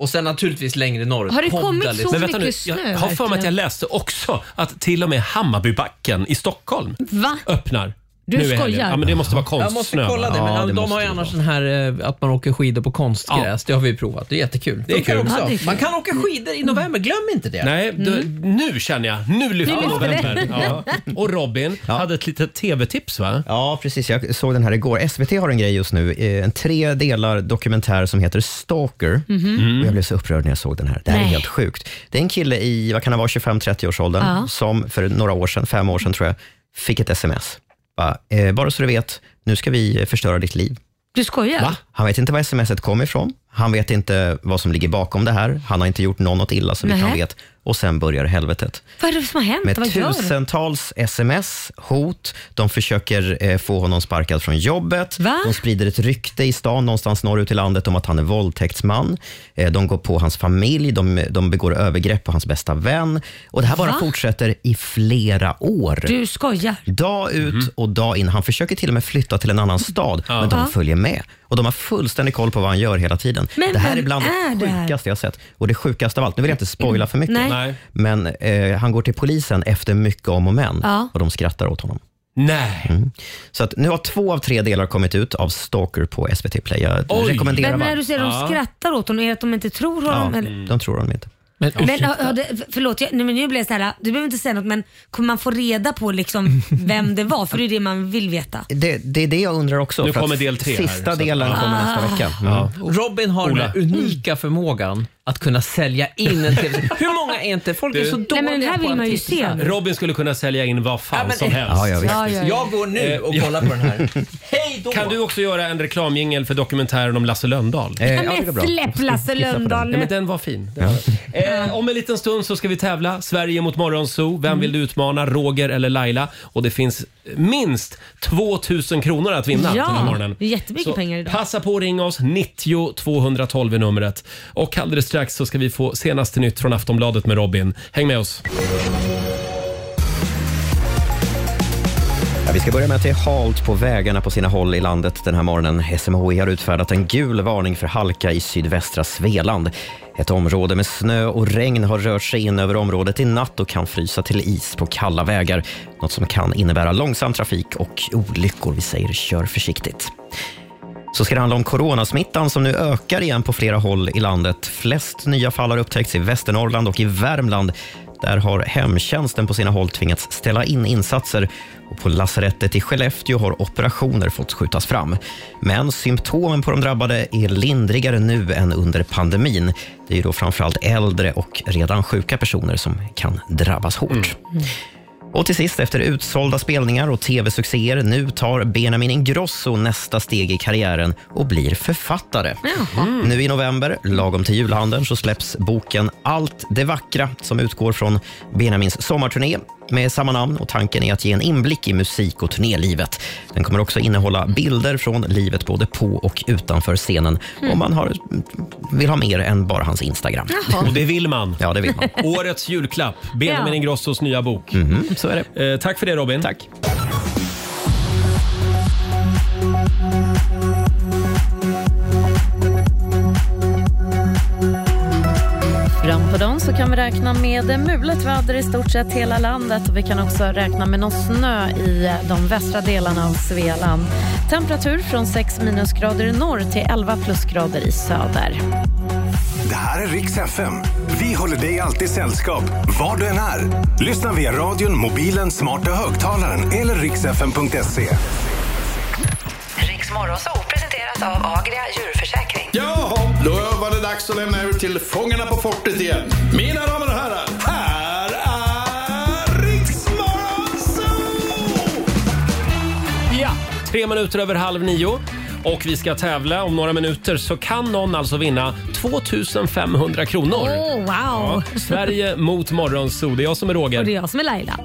S8: Och sen naturligtvis längre norrut.
S2: Mm. Har det kommit
S8: Podda lite.
S2: så Men vänta nu, mycket snö
S1: Jag har för mig att jag
S2: verkligen?
S1: läste också att till och med Hammarbybacken i Stockholm
S2: Va?
S1: öppnar.
S8: Du
S1: nu i helgen.
S8: skojar.
S1: Ja, men det måste vara konstsnö.
S8: Jag måste kolla det,
S1: va?
S8: men de, de har ju annars den här eh, att man åker skidor på konstgräs. Det har vi provat. Det är jättekul.
S1: Det är
S8: Funkar
S1: kul.
S8: också.
S1: Ja, det är kul.
S8: Man kan åka skidor i november, glöm inte det.
S1: Nej, du,
S2: Mm.
S1: nu känner jag. Nu lyfter
S8: lyfter
S1: november.
S8: det.
S1: Ja. Och Robin hade ett litet tv-tips va?
S3: Ja, precis. Jag såg den här igår. SVT har en grej just nu, eh, en tre delar dokumentär som heter Stalker.
S5: Mhm. Mm.
S3: Och jag blev så upprörd när jag såg den här. Det här
S5: Nej.
S3: är helt sjukt. Det är en kille i, vad kan han vara, 25-30 års åldern,
S5: Ja.
S3: som för några år sedan, fem år sedan tror jag, fick ett sms. Bara, eh, bara så du vet, nu ska vi eh, förstöra ditt liv.
S2: Du skojar?
S3: Han vet inte var smset kom ifrån. Han vet inte vad som ligger bakom det här. Han har inte gjort någon något illa, så vitt han
S2: Nej.
S3: vet. Och sen börjar helvetet.
S2: Vad är det som har hänt?
S3: Med
S2: Vad gör du?
S3: tusentals sms, hot, de försöker eh, få honom sparkad från jobbet. De sprider ett rykte i stan någonstans norrut i landet om att han är våldtäktsman. Eh, de går på hans familj, de, de begår övergrepp på hans bästa vän. Och det här bara
S2: Va?
S3: fortsätter i flera år.
S2: Du skojar?
S3: Dag ut
S1: Mhm.
S3: och dag in. Han försöker till och med flytta till en annan stad, men de
S2: Mm. Ja.
S3: följer med. Och De har fullständig koll på vad han gör hela tiden.
S2: Men
S3: det här är
S2: vem
S3: bland
S2: är det
S3: det
S2: här?
S3: sjukaste jag har sett. Och det sjukaste av allt, nu vill jag inte spoila för mycket,
S2: Nej. Nej.
S3: men eh, han går till polisen efter mycket om och men
S2: Ja.
S3: och de skrattar åt honom.
S1: Nej.
S3: Mm. Så att nu har två av tre delar kommit ut av Stalker på SVT Play. Jag rekommenderar
S2: Men när
S3: varmt.
S2: du säger att de skrattar åt honom, är det att de inte tror honom?
S3: Ja,
S2: eller?
S3: de tror honom inte.
S2: Men, har- har det- förlåt, jag, nej, men nu blir jag så här, du behöver inte säga något men kommer man få reda på liksom vem det var? För det är det man vill veta.
S3: det, det är det jag undrar också.
S1: Nu
S3: för att
S1: kommer del tre här, så
S3: Sista
S1: att-
S3: delen kommer nästa
S8: Ah.
S3: vecka. Mm.
S8: Ja. Robin har
S3: Ola.
S8: den här unika förmågan att kunna sälja in en tv Hur många är inte? Folk är
S1: Du-
S8: så dåliga på att tipsa.
S1: Robin skulle kunna sälja in vad fan
S8: Ja, men-
S1: som helst.
S8: Ja, ja, visst. Ja, ja, ja. Jag går nu
S1: Eh,
S8: och
S1: ja.
S8: kollar på den här. Hej då!
S1: Kan du också göra en reklamjingel för dokumentären om Lasse Lönndahl?
S2: Eh, ja, det går bra. släpp Lasse Lönndahl nu.
S1: Nej, men den var fin. Den var- Eh, om en liten stund så ska vi tävla. Sverige mot Morgonzoo.
S2: Mm.
S1: Vem vill du utmana? Roger eller Laila? Och det finns minst 2000 kronor att vinna den här
S2: ja,
S1: morgonen.
S2: det är jättemycket
S1: Så
S2: pengar idag.
S1: Passa på att ringa oss, 90 212 är numret. Och alldeles strax så ska vi få senaste nytt från Aftonbladet med Robin. Häng med oss.
S3: Ja, vi ska börja med att det är halt på vägarna på sina håll i landet den här morgonen. SMHI E har utfärdat en gul varning för halka i sydvästra Svealand. Ett område med snö och regn har rört sig in över området i natt och kan frysa till is på kalla vägar. Något som kan innebära långsam trafik och olyckor. Vi säger kör försiktigt. Så ska det handla om coronasmittan som nu ökar igen på flera håll i landet. Flest nya fall har upptäckts i Västernorrland och i Värmland. Där har hemtjänsten på sina håll tvingats ställa in insatser och på lasarettet i Skellefteå har operationer fått skjutas fram. Men symptomen på de drabbade är lindrigare nu än under pandemin. Det är ju då framförallt äldre och redan sjuka personer som kan drabbas hårt. Och till sist, efter utsålda spelningar och tv-succéer, nu tar Benjamin Ingrosso nästa steg i karriären och blir författare. Nu i november, lagom till julhandeln, så släpps boken Allt det vackra som utgår från Benjamins sommarturné med samma namn och tanken är att ge en inblick i musik och turnélivet. Den kommer också innehålla bilder från livet både på och utanför scenen om man har, vill ha mer än bara hans Instagram.
S1: Jaha. Och det vill man.
S3: Ja, det vill man.
S1: Årets julklapp, Benjamin
S2: Ja. Mm-hmm.
S1: Ingrossos nya bok.
S3: så är
S1: det. Eh, tack för det Robin.
S3: Tack.
S13: Fram på dagen så kan vi räkna med mulet väder i stort sett hela landet och vi kan också räkna med någon snö i de västra delarna av Svealand. Temperatur från 6 minusgrader i norr till 11 plusgrader i söder.
S14: Det här är Riks FM. Vi håller dig alltid sällskap, var du än är. Lyssna via radion, mobilen, smarta högtalaren eller riksfm.se.
S15: Riks Morgonzoo presenteras av Agria djurförsäkring.
S16: Jaha, då var det dags att lämna över till Fångarna på fortet igen. Mina damer och herrar, här är Riksmorgon!
S1: Ja, tre minuter över halv nio. Och vi ska tävla om några minuter så kan någon alltså vinna 2500 kronor.
S2: Åh, Oh, wow.
S1: Ja, Sverige mot Morgonzoo. Det är jag som är Roger.
S2: Och det är jag som är Laila.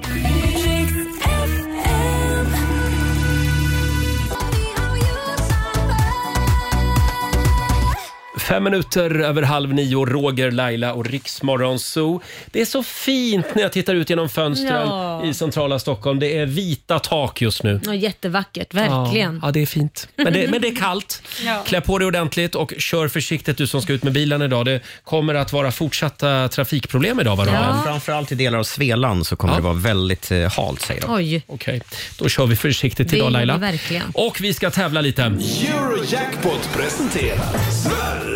S1: Fem minuter över halv nio, Roger, Laila och Riksmorgon Zoo. Det är så fint när jag tittar ut genom fönstren
S2: Ja.
S1: i centrala Stockholm. Det är vita tak just nu.
S2: Ja, jättevackert, verkligen.
S1: Ja, ja, det är fint. Men det, men det är kallt.
S2: Ja.
S1: Klä på dig ordentligt och kör försiktigt du som ska ut med bilen idag. Det kommer att vara fortsatta trafikproblem idag, va Robin?
S3: Ja. Framförallt i delar av Svealand så kommer det vara väldigt eh, halt, säger de.
S2: Oj.
S1: Okej, då kör vi försiktigt
S3: Det gör
S1: idag
S3: vi
S1: Laila.
S2: verkligen.
S1: Och vi ska tävla lite.
S16: Eurojackpot presenterar Sverige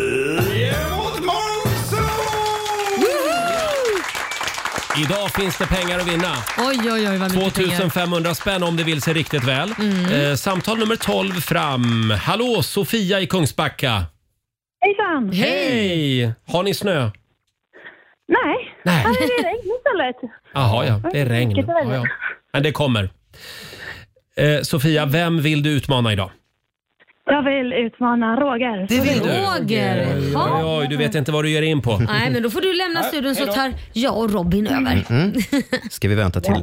S16: mot
S1: Idag finns det pengar att vinna.
S2: Oj, oj, oj vad mycket pengar.
S1: 2500 spänn om det vill sig riktigt väl.
S2: Mm.
S1: Eh, samtal nummer 12 fram. Hallå, Sofia i Kungsbacka.
S17: Hejsan!
S1: Hej! Har ni snö?
S17: Nej,
S1: Nej.
S17: Ja, men det är regn istället.
S1: Jaha, ja. Det är regn.
S17: Vilket
S1: Ja, ja. Men det kommer. Eh, Sofia, vem vill du utmana idag?
S17: Jag vill utmana Roger.
S1: Det vill du?
S2: Roger!
S1: Oj,
S2: Ja.
S1: oj, du vet inte vad du ger in på.
S2: Nej, men då får du lämna studion så tar jag och Robin över.
S3: Mm. Ska vi vänta till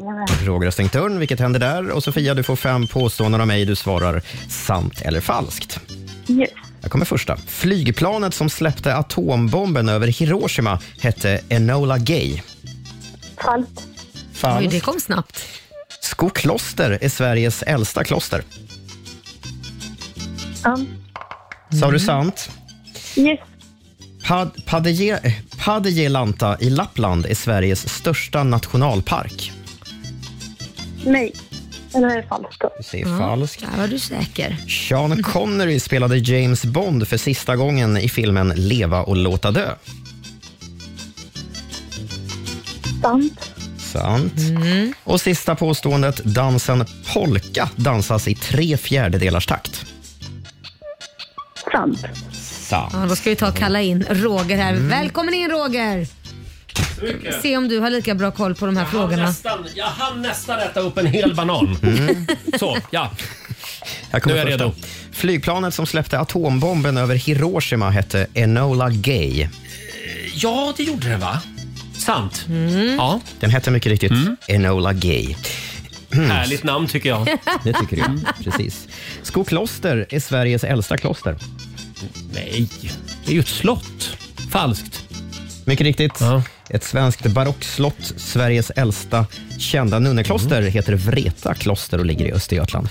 S3: Roger har stängt dörren, vilket händer där. Och Sofia, du får fem påståenden av mig. Du svarar sant eller falskt.
S17: Yes.
S3: Jag kommer första. Flygplanet som släppte atombomben över Hiroshima hette Enola Gay.
S17: Falskt.
S3: Falskt.
S2: Oj, det kom snabbt.
S3: Skokloster är Sveriges äldsta kloster.
S17: Sant.
S3: Sa du sant?
S17: Mm. Yes.
S3: Pad, Padeje, eh, Padejelanta i Lappland är Sveriges största nationalpark.
S17: Nej. Eller är det falskt då?
S3: Du säger falskt.
S2: Där var du säker.
S3: Sean Connery spelade James Bond för sista gången i filmen Leva och låta dö.
S17: Sant. Mm.
S3: Sant. Och sista påståendet. Dansen polka dansas i tre fjärdedelars takt.
S17: Sant.
S3: Sant.
S2: Ja, då ska vi ta och kalla in Roger här. Välkommen in Roger! Se om du har lika bra koll på de här frågorna.
S1: jag hann nästan äta upp en hel banan.
S2: Mm.
S1: Så, ja.
S3: Jag kommer
S1: Nu är jag
S3: första.
S1: redo.
S3: Flygplanet som släppte atombomben över Hiroshima hette Enola Gay.
S1: Ja, det gjorde det va? Sant.
S2: Mm.
S1: Ja.
S3: Den hette mycket riktigt Enola Gay.
S1: Mm.
S3: Hmm.
S1: Härligt namn tycker jag. Mm.
S3: Det tycker jag. Precis. Skokloster är Sveriges äldsta kloster.
S1: Nej, det är ju ett slott. Falskt.
S3: Mycket riktigt. Ett svenskt barockslott, Sveriges äldsta kända nunnekloster,
S1: Mm.
S3: heter Vreta kloster och ligger i Östergötland.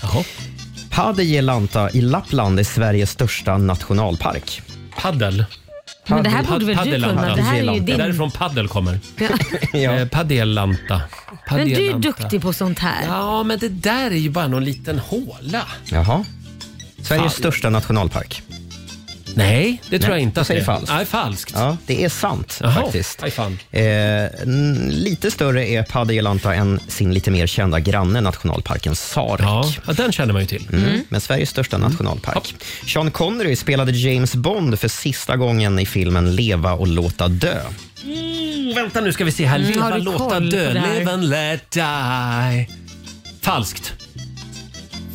S3: Padejelanta i Lappland är Sveriges största nationalpark.
S1: Paddel?
S2: Men det här borde väl du kunna? Det här är ju
S1: Det
S2: din-
S1: är därifrån paddel kommer.
S2: Ja.
S1: Eh, Padelanta.
S2: Men du är
S1: Padelanta.
S2: duktig på sånt här.
S1: Ja, men det där är ju bara någon liten håla.
S3: Jaha. Sveriges
S1: Fan.
S3: största nationalpark.
S1: Nej, det tror jag inte
S3: Du
S1: att
S3: säger
S1: det är.
S3: falskt.
S1: Nej, falskt.
S3: Ja, det är sant
S1: Jaha,
S3: faktiskt.
S1: aj fan.
S3: Eh, n- lite större är Padelanta än sin lite mer kända granne, nationalparken Sarek.
S1: Ja, den känner man ju till.
S3: Mm. Men Sveriges största nationalpark. Sean Connery spelade James Bond för sista gången i filmen Leva och låta dö.
S1: Mm, vänta nu ska vi se här.
S3: Mm, har
S1: Leva,
S3: du
S1: låta,
S3: koll
S1: dö.
S3: på det här?
S1: Live and let die. Falskt.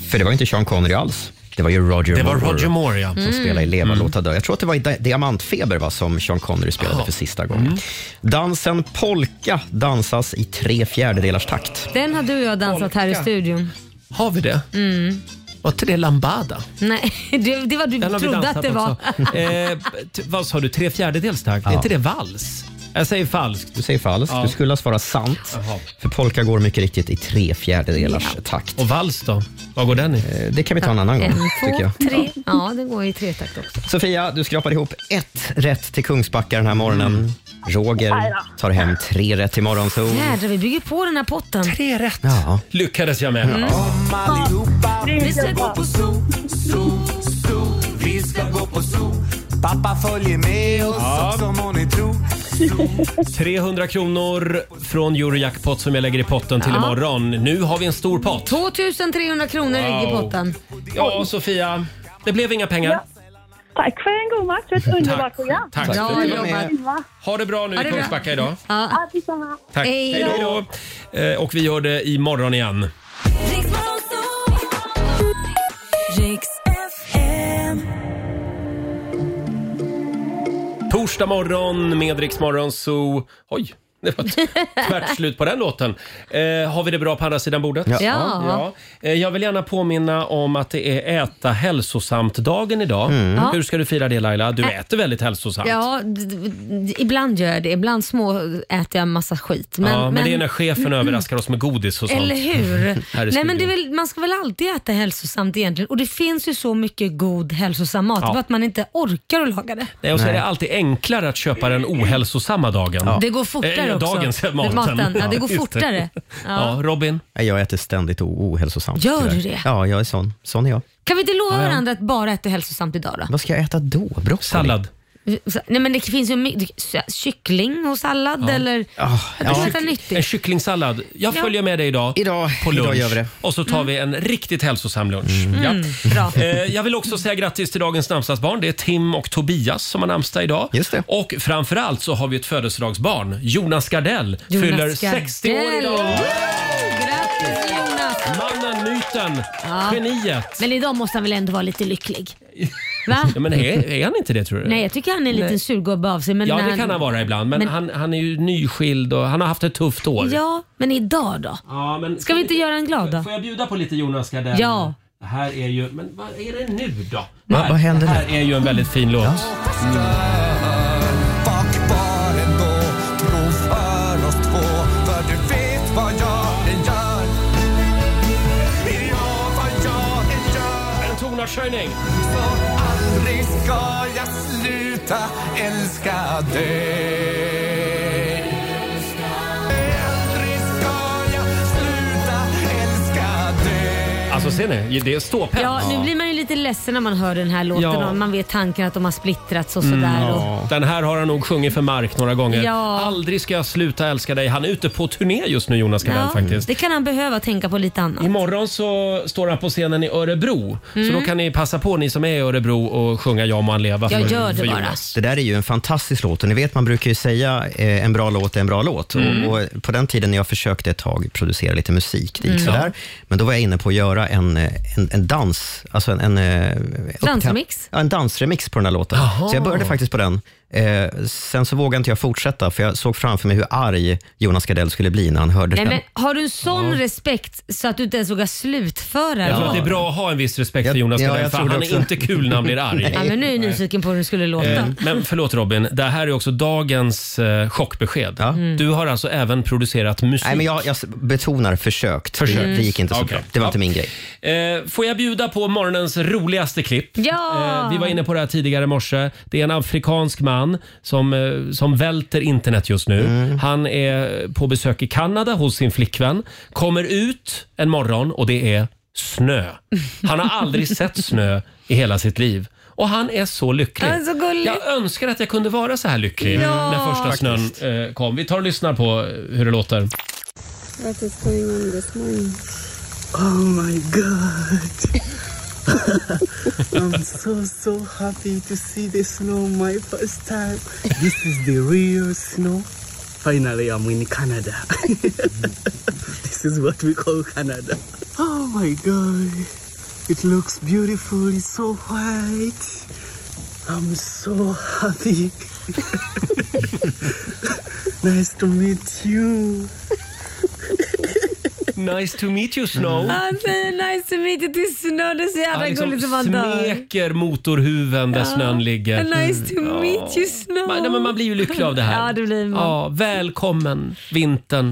S3: För det var inte Sean Connery alls. Det var ju Roger
S1: Det var
S3: Moore,
S1: Roger Moore, ja.
S3: som
S1: Mm.
S3: spelade i Leva och låta dö. Jag tror att det var i Di- Diamantfeber va, som Sean Connery spelade för sista gången.
S1: Mm.
S3: Dansen polka dansas i tre fjärdedelars takt.
S2: Den har du och jag dansat här i studion.
S1: Har vi det?
S2: Mm.
S1: Var inte det lambada?
S2: Nej, det, det var du
S1: Den har vi
S2: trodde
S1: dansat
S2: att det var.
S1: också. eh, t- vad sa du? Tre fjärdedels takt? Är inte det vals? Jag säger falskt.
S3: Du säger falskt.
S1: Ja.
S3: Du skulle ha svarat sant. För polka går mycket riktigt i tre fjärdedelars takt. Eh,
S1: Och vals då? Vad går den i?
S3: Det kan vi ta en annan gång,
S2: en,
S3: tycker jag.
S2: två, tre. Ja, det går i tretakt också.
S3: Sofia, du skrapar ihop ett rätt till Kungsbacka den här morgonen.
S1: Mm.
S3: Roger tar hem tre rätt till Morgonzoo.
S2: Jädrar, vi bygger på den här potten.
S1: Tre rätt.
S3: Ja.
S1: Lyckades jag med.
S3: Mm.
S5: Vi ska gå på zoo, zoo, zoo. Vi ska gå på zoo. Pappa följer med oss
S1: Ja.
S5: som må ni tro.
S1: 300 kronor från Eurojackpot som jag lägger i potten till
S2: Ja.
S1: imorgon. Nu har vi en stor pott.
S2: 2300 kronor ligger i
S1: Wow.
S2: potten.
S1: Ja, Sofia. Det blev inga pengar.
S17: Tack för en god match och ett underbart program.
S1: tack för att
S17: ja,
S1: du var med. Ha det bra nu
S17: Ha
S1: i
S17: det bra.
S1: Kungsbacka idag.
S17: Ja, detsamma.
S1: Tack. då. Eh, Och vi gör det imorgon igen.
S10: Riks FM.
S1: Torsdag morgon med Rix Morgon Zoo. Oj, det var ett tvärt slut på den låten. Eh, har vi det bra på andra sidan bordet?
S5: Ja.
S1: Ja. Eh, jag vill gärna påminna om att det är äta hälsosamt-dagen idag.
S2: Ja.
S1: Hur ska du fira det Laila? Du
S2: Ä-
S1: äter väldigt hälsosamt.
S2: Ja, d- d- ibland gör jag det. Ibland små äter jag en massa skit. Men, Mm.
S1: Men, ja, men, det är när chefen överraskar oss med godis och sånt.
S2: Eller hur?
S1: Här i
S2: Nej, men
S1: studion.
S2: det är väl, man ska väl alltid äta hälsosamt egentligen. Och det finns ju så mycket god hälsosam mat.
S1: Ja.
S2: bara att man inte orkar att laga det.
S1: Nej, och så är det alltid enklare att köpa den ohälsosamma dagen.
S2: Det går fortare
S1: Eh,
S2: också.
S1: Dagens
S2: Det-
S1: maten.
S2: maten. Ja, det går
S1: just
S2: fortare. Ja.
S1: Robin?
S3: Jag äter ständigt o- ohälsosamt.
S2: Gör du
S3: tyvärr.
S2: det?
S3: Ja, jag är sån. Sån är jag.
S2: Kan vi inte lova
S3: Ja, ja.
S2: varandra att bara äta hälsosamt idag då?
S3: Vad ska jag äta då? Broccoli?
S1: Sallad.
S2: Så- Nej, men det finns ju my- kyckling och sallad
S1: Ja.
S2: eller... du kan äta nyttigt.
S1: En kycklingsallad. Jag
S2: Ja.
S1: följer med dig idag, på lunch.
S3: idag gör vi det.
S1: Och så tar vi en riktigt hälsosam lunch.
S2: Mm. Mm,
S1: Ja. Eh, Jag vill också säga grattis till dagens namnsdagsbarn. Det är Tim och Tobias som har namnsdag idag. Just det. Och framförallt så har vi ett födelsedagsbarn. Jonas Gardell
S5: Jonas
S1: fyller
S5: Gardell.
S1: 60 år idag.
S2: Grattis Jonas!
S1: Mannen, myten,
S2: Ja.
S1: geniet.
S2: Men idag måste han väl ändå vara lite lycklig? Va?
S1: Ja, men är, är han inte det tror du?
S2: Nej, jag tycker han är en
S1: Nej.
S2: liten surgubbe av sig. Men
S1: ja,
S2: när
S1: det kan han vara ibland. Men,
S2: Men-
S1: Han, han är ju nyskild och han har haft ett tufft år.
S2: Ja, men idag då?
S1: Ja, men
S2: Ska vi inte göra en glad då?
S1: Får jag bjuda på lite Jonas Gardell?
S2: Ja.
S1: Det här är ju... Men vad är det nu då?
S5: Va-
S1: Här-
S5: vad händer
S1: Det här är ju en väldigt fin låt.
S5: Backbar ändå, tro för oss två För du vet vad jag än gör Ja, vad jag än gör
S1: En tonartshöjning
S5: Så aldrig ska jag sluta älska dig Aldrig ska jag sluta älska dig
S1: Alltså ser ni? Det är ståpäls.
S2: Ja, nu blir man ju lite ledsen när man hör den här låten
S1: Ja.
S2: och man vet tanken att de har splittrats och
S1: Mm,
S2: sådär. och,
S1: ja. Den här har han nog sjungit för Mark några gånger.
S2: Ja.
S1: Aldrig ska jag sluta älska dig. Han är ute på turné just nu Jonas Gardell
S2: ja,
S1: faktiskt.
S2: det kan han behöva tänka på lite annat.
S1: Imorgon så står han på scenen i Örebro. Så
S2: Mm.
S1: då kan ni passa på ni som är i Örebro och sjunga Ja må han leva för, för Jonas.
S3: Det där är ju en fantastisk låt. Och ni vet, man brukar ju säga eh, en bra låt är en bra låt.
S1: Mm.
S3: Och, och på den tiden när jag försökte ett tag producera lite musik, det gick
S2: Mm.
S3: sådär. Men då var jag inne på att göra en, eh, en, en dans, alltså en... en eh,
S2: Dansremix?
S3: upptem- Ja, en dansremix på den här låten.
S2: Jaha.
S3: Så jag började faktiskt på den. Eh, sen så vågade inte jag fortsätta, för jag såg framför mig hur arg Jonas Gardell skulle bli när han hörde
S2: Nej,
S3: den.
S2: men har du en sån
S3: Ja.
S2: respekt så att du inte ens vågar slutföra
S1: Jag tror att det är
S2: låten?
S1: bra att ha en viss respekt för Jonas
S3: ja,
S1: Gardell,
S3: jag
S1: för
S3: tror det
S1: han är
S3: också.
S1: inte kul när han blir arg.
S2: Ja, men nu är jag nyfiken på hur det skulle låta.
S1: Eh, Men förlåt Robin, det här är också dagens eh, chockbesked.
S2: Mm.
S1: Du har alltså även producerat musik.
S3: Nej, men jag, jag betonar försökt.
S1: Försökt. Mm.
S3: Det, det gick inte så
S1: Okej.
S3: bra. Det var inte min grej.
S1: Eh, får jag bjuda på morgonens roligaste klipp?
S2: Ja!
S1: Eh, vi var inne på det här tidigare i morse. Det är en afrikansk man som, eh, som välter internet just nu. Han är på besök i Kanada hos sin flickvän. Kommer ut en morgon och det är snö. Han har aldrig sett snö i hela sitt liv. Och han är så lycklig.
S5: Han är så gullig.
S1: jag önskar att jag kunde vara så här lycklig
S11: Ja.
S1: när första
S11: Faktiskt.
S1: snön eh, kom. Vi tar och lyssnar på eh, hur det låter.
S11: What is going on this morning?
S4: Oh my god. I'm so, so happy to see the snow my first time. This is the real snow. Finally, I'm in Canada. this is what we call Canada. Oh my god. It looks beautiful. It's so white. I'm so happy. nice to meet you.
S1: Nice to meet you Snow.
S2: Han säger Ah, nice to meet you till snö. Det är så jävla
S1: Han
S2: gulligt som man dör.
S1: liksom smeker motorhuven där
S2: Ja.
S1: snön ligger. Mm.
S2: Nice to
S1: Ja.
S2: meet you snow.
S1: Man, nej, men man blir ju lycklig av det här.
S2: Ja, det blir man.
S1: Ja, välkommen vintern.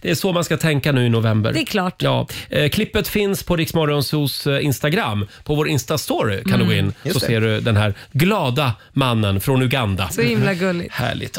S1: Det är så man ska tänka nu i november.
S2: Det är klart.
S1: Ja. Eh, klippet finns på Riksmorgonsos eh, Instagram. På vår Insta-story kan
S2: Mm.
S1: du gå in
S2: Just
S1: så
S2: det.
S1: ser du den här glada mannen från Uganda.
S2: Så himla gulligt.
S1: Härligt.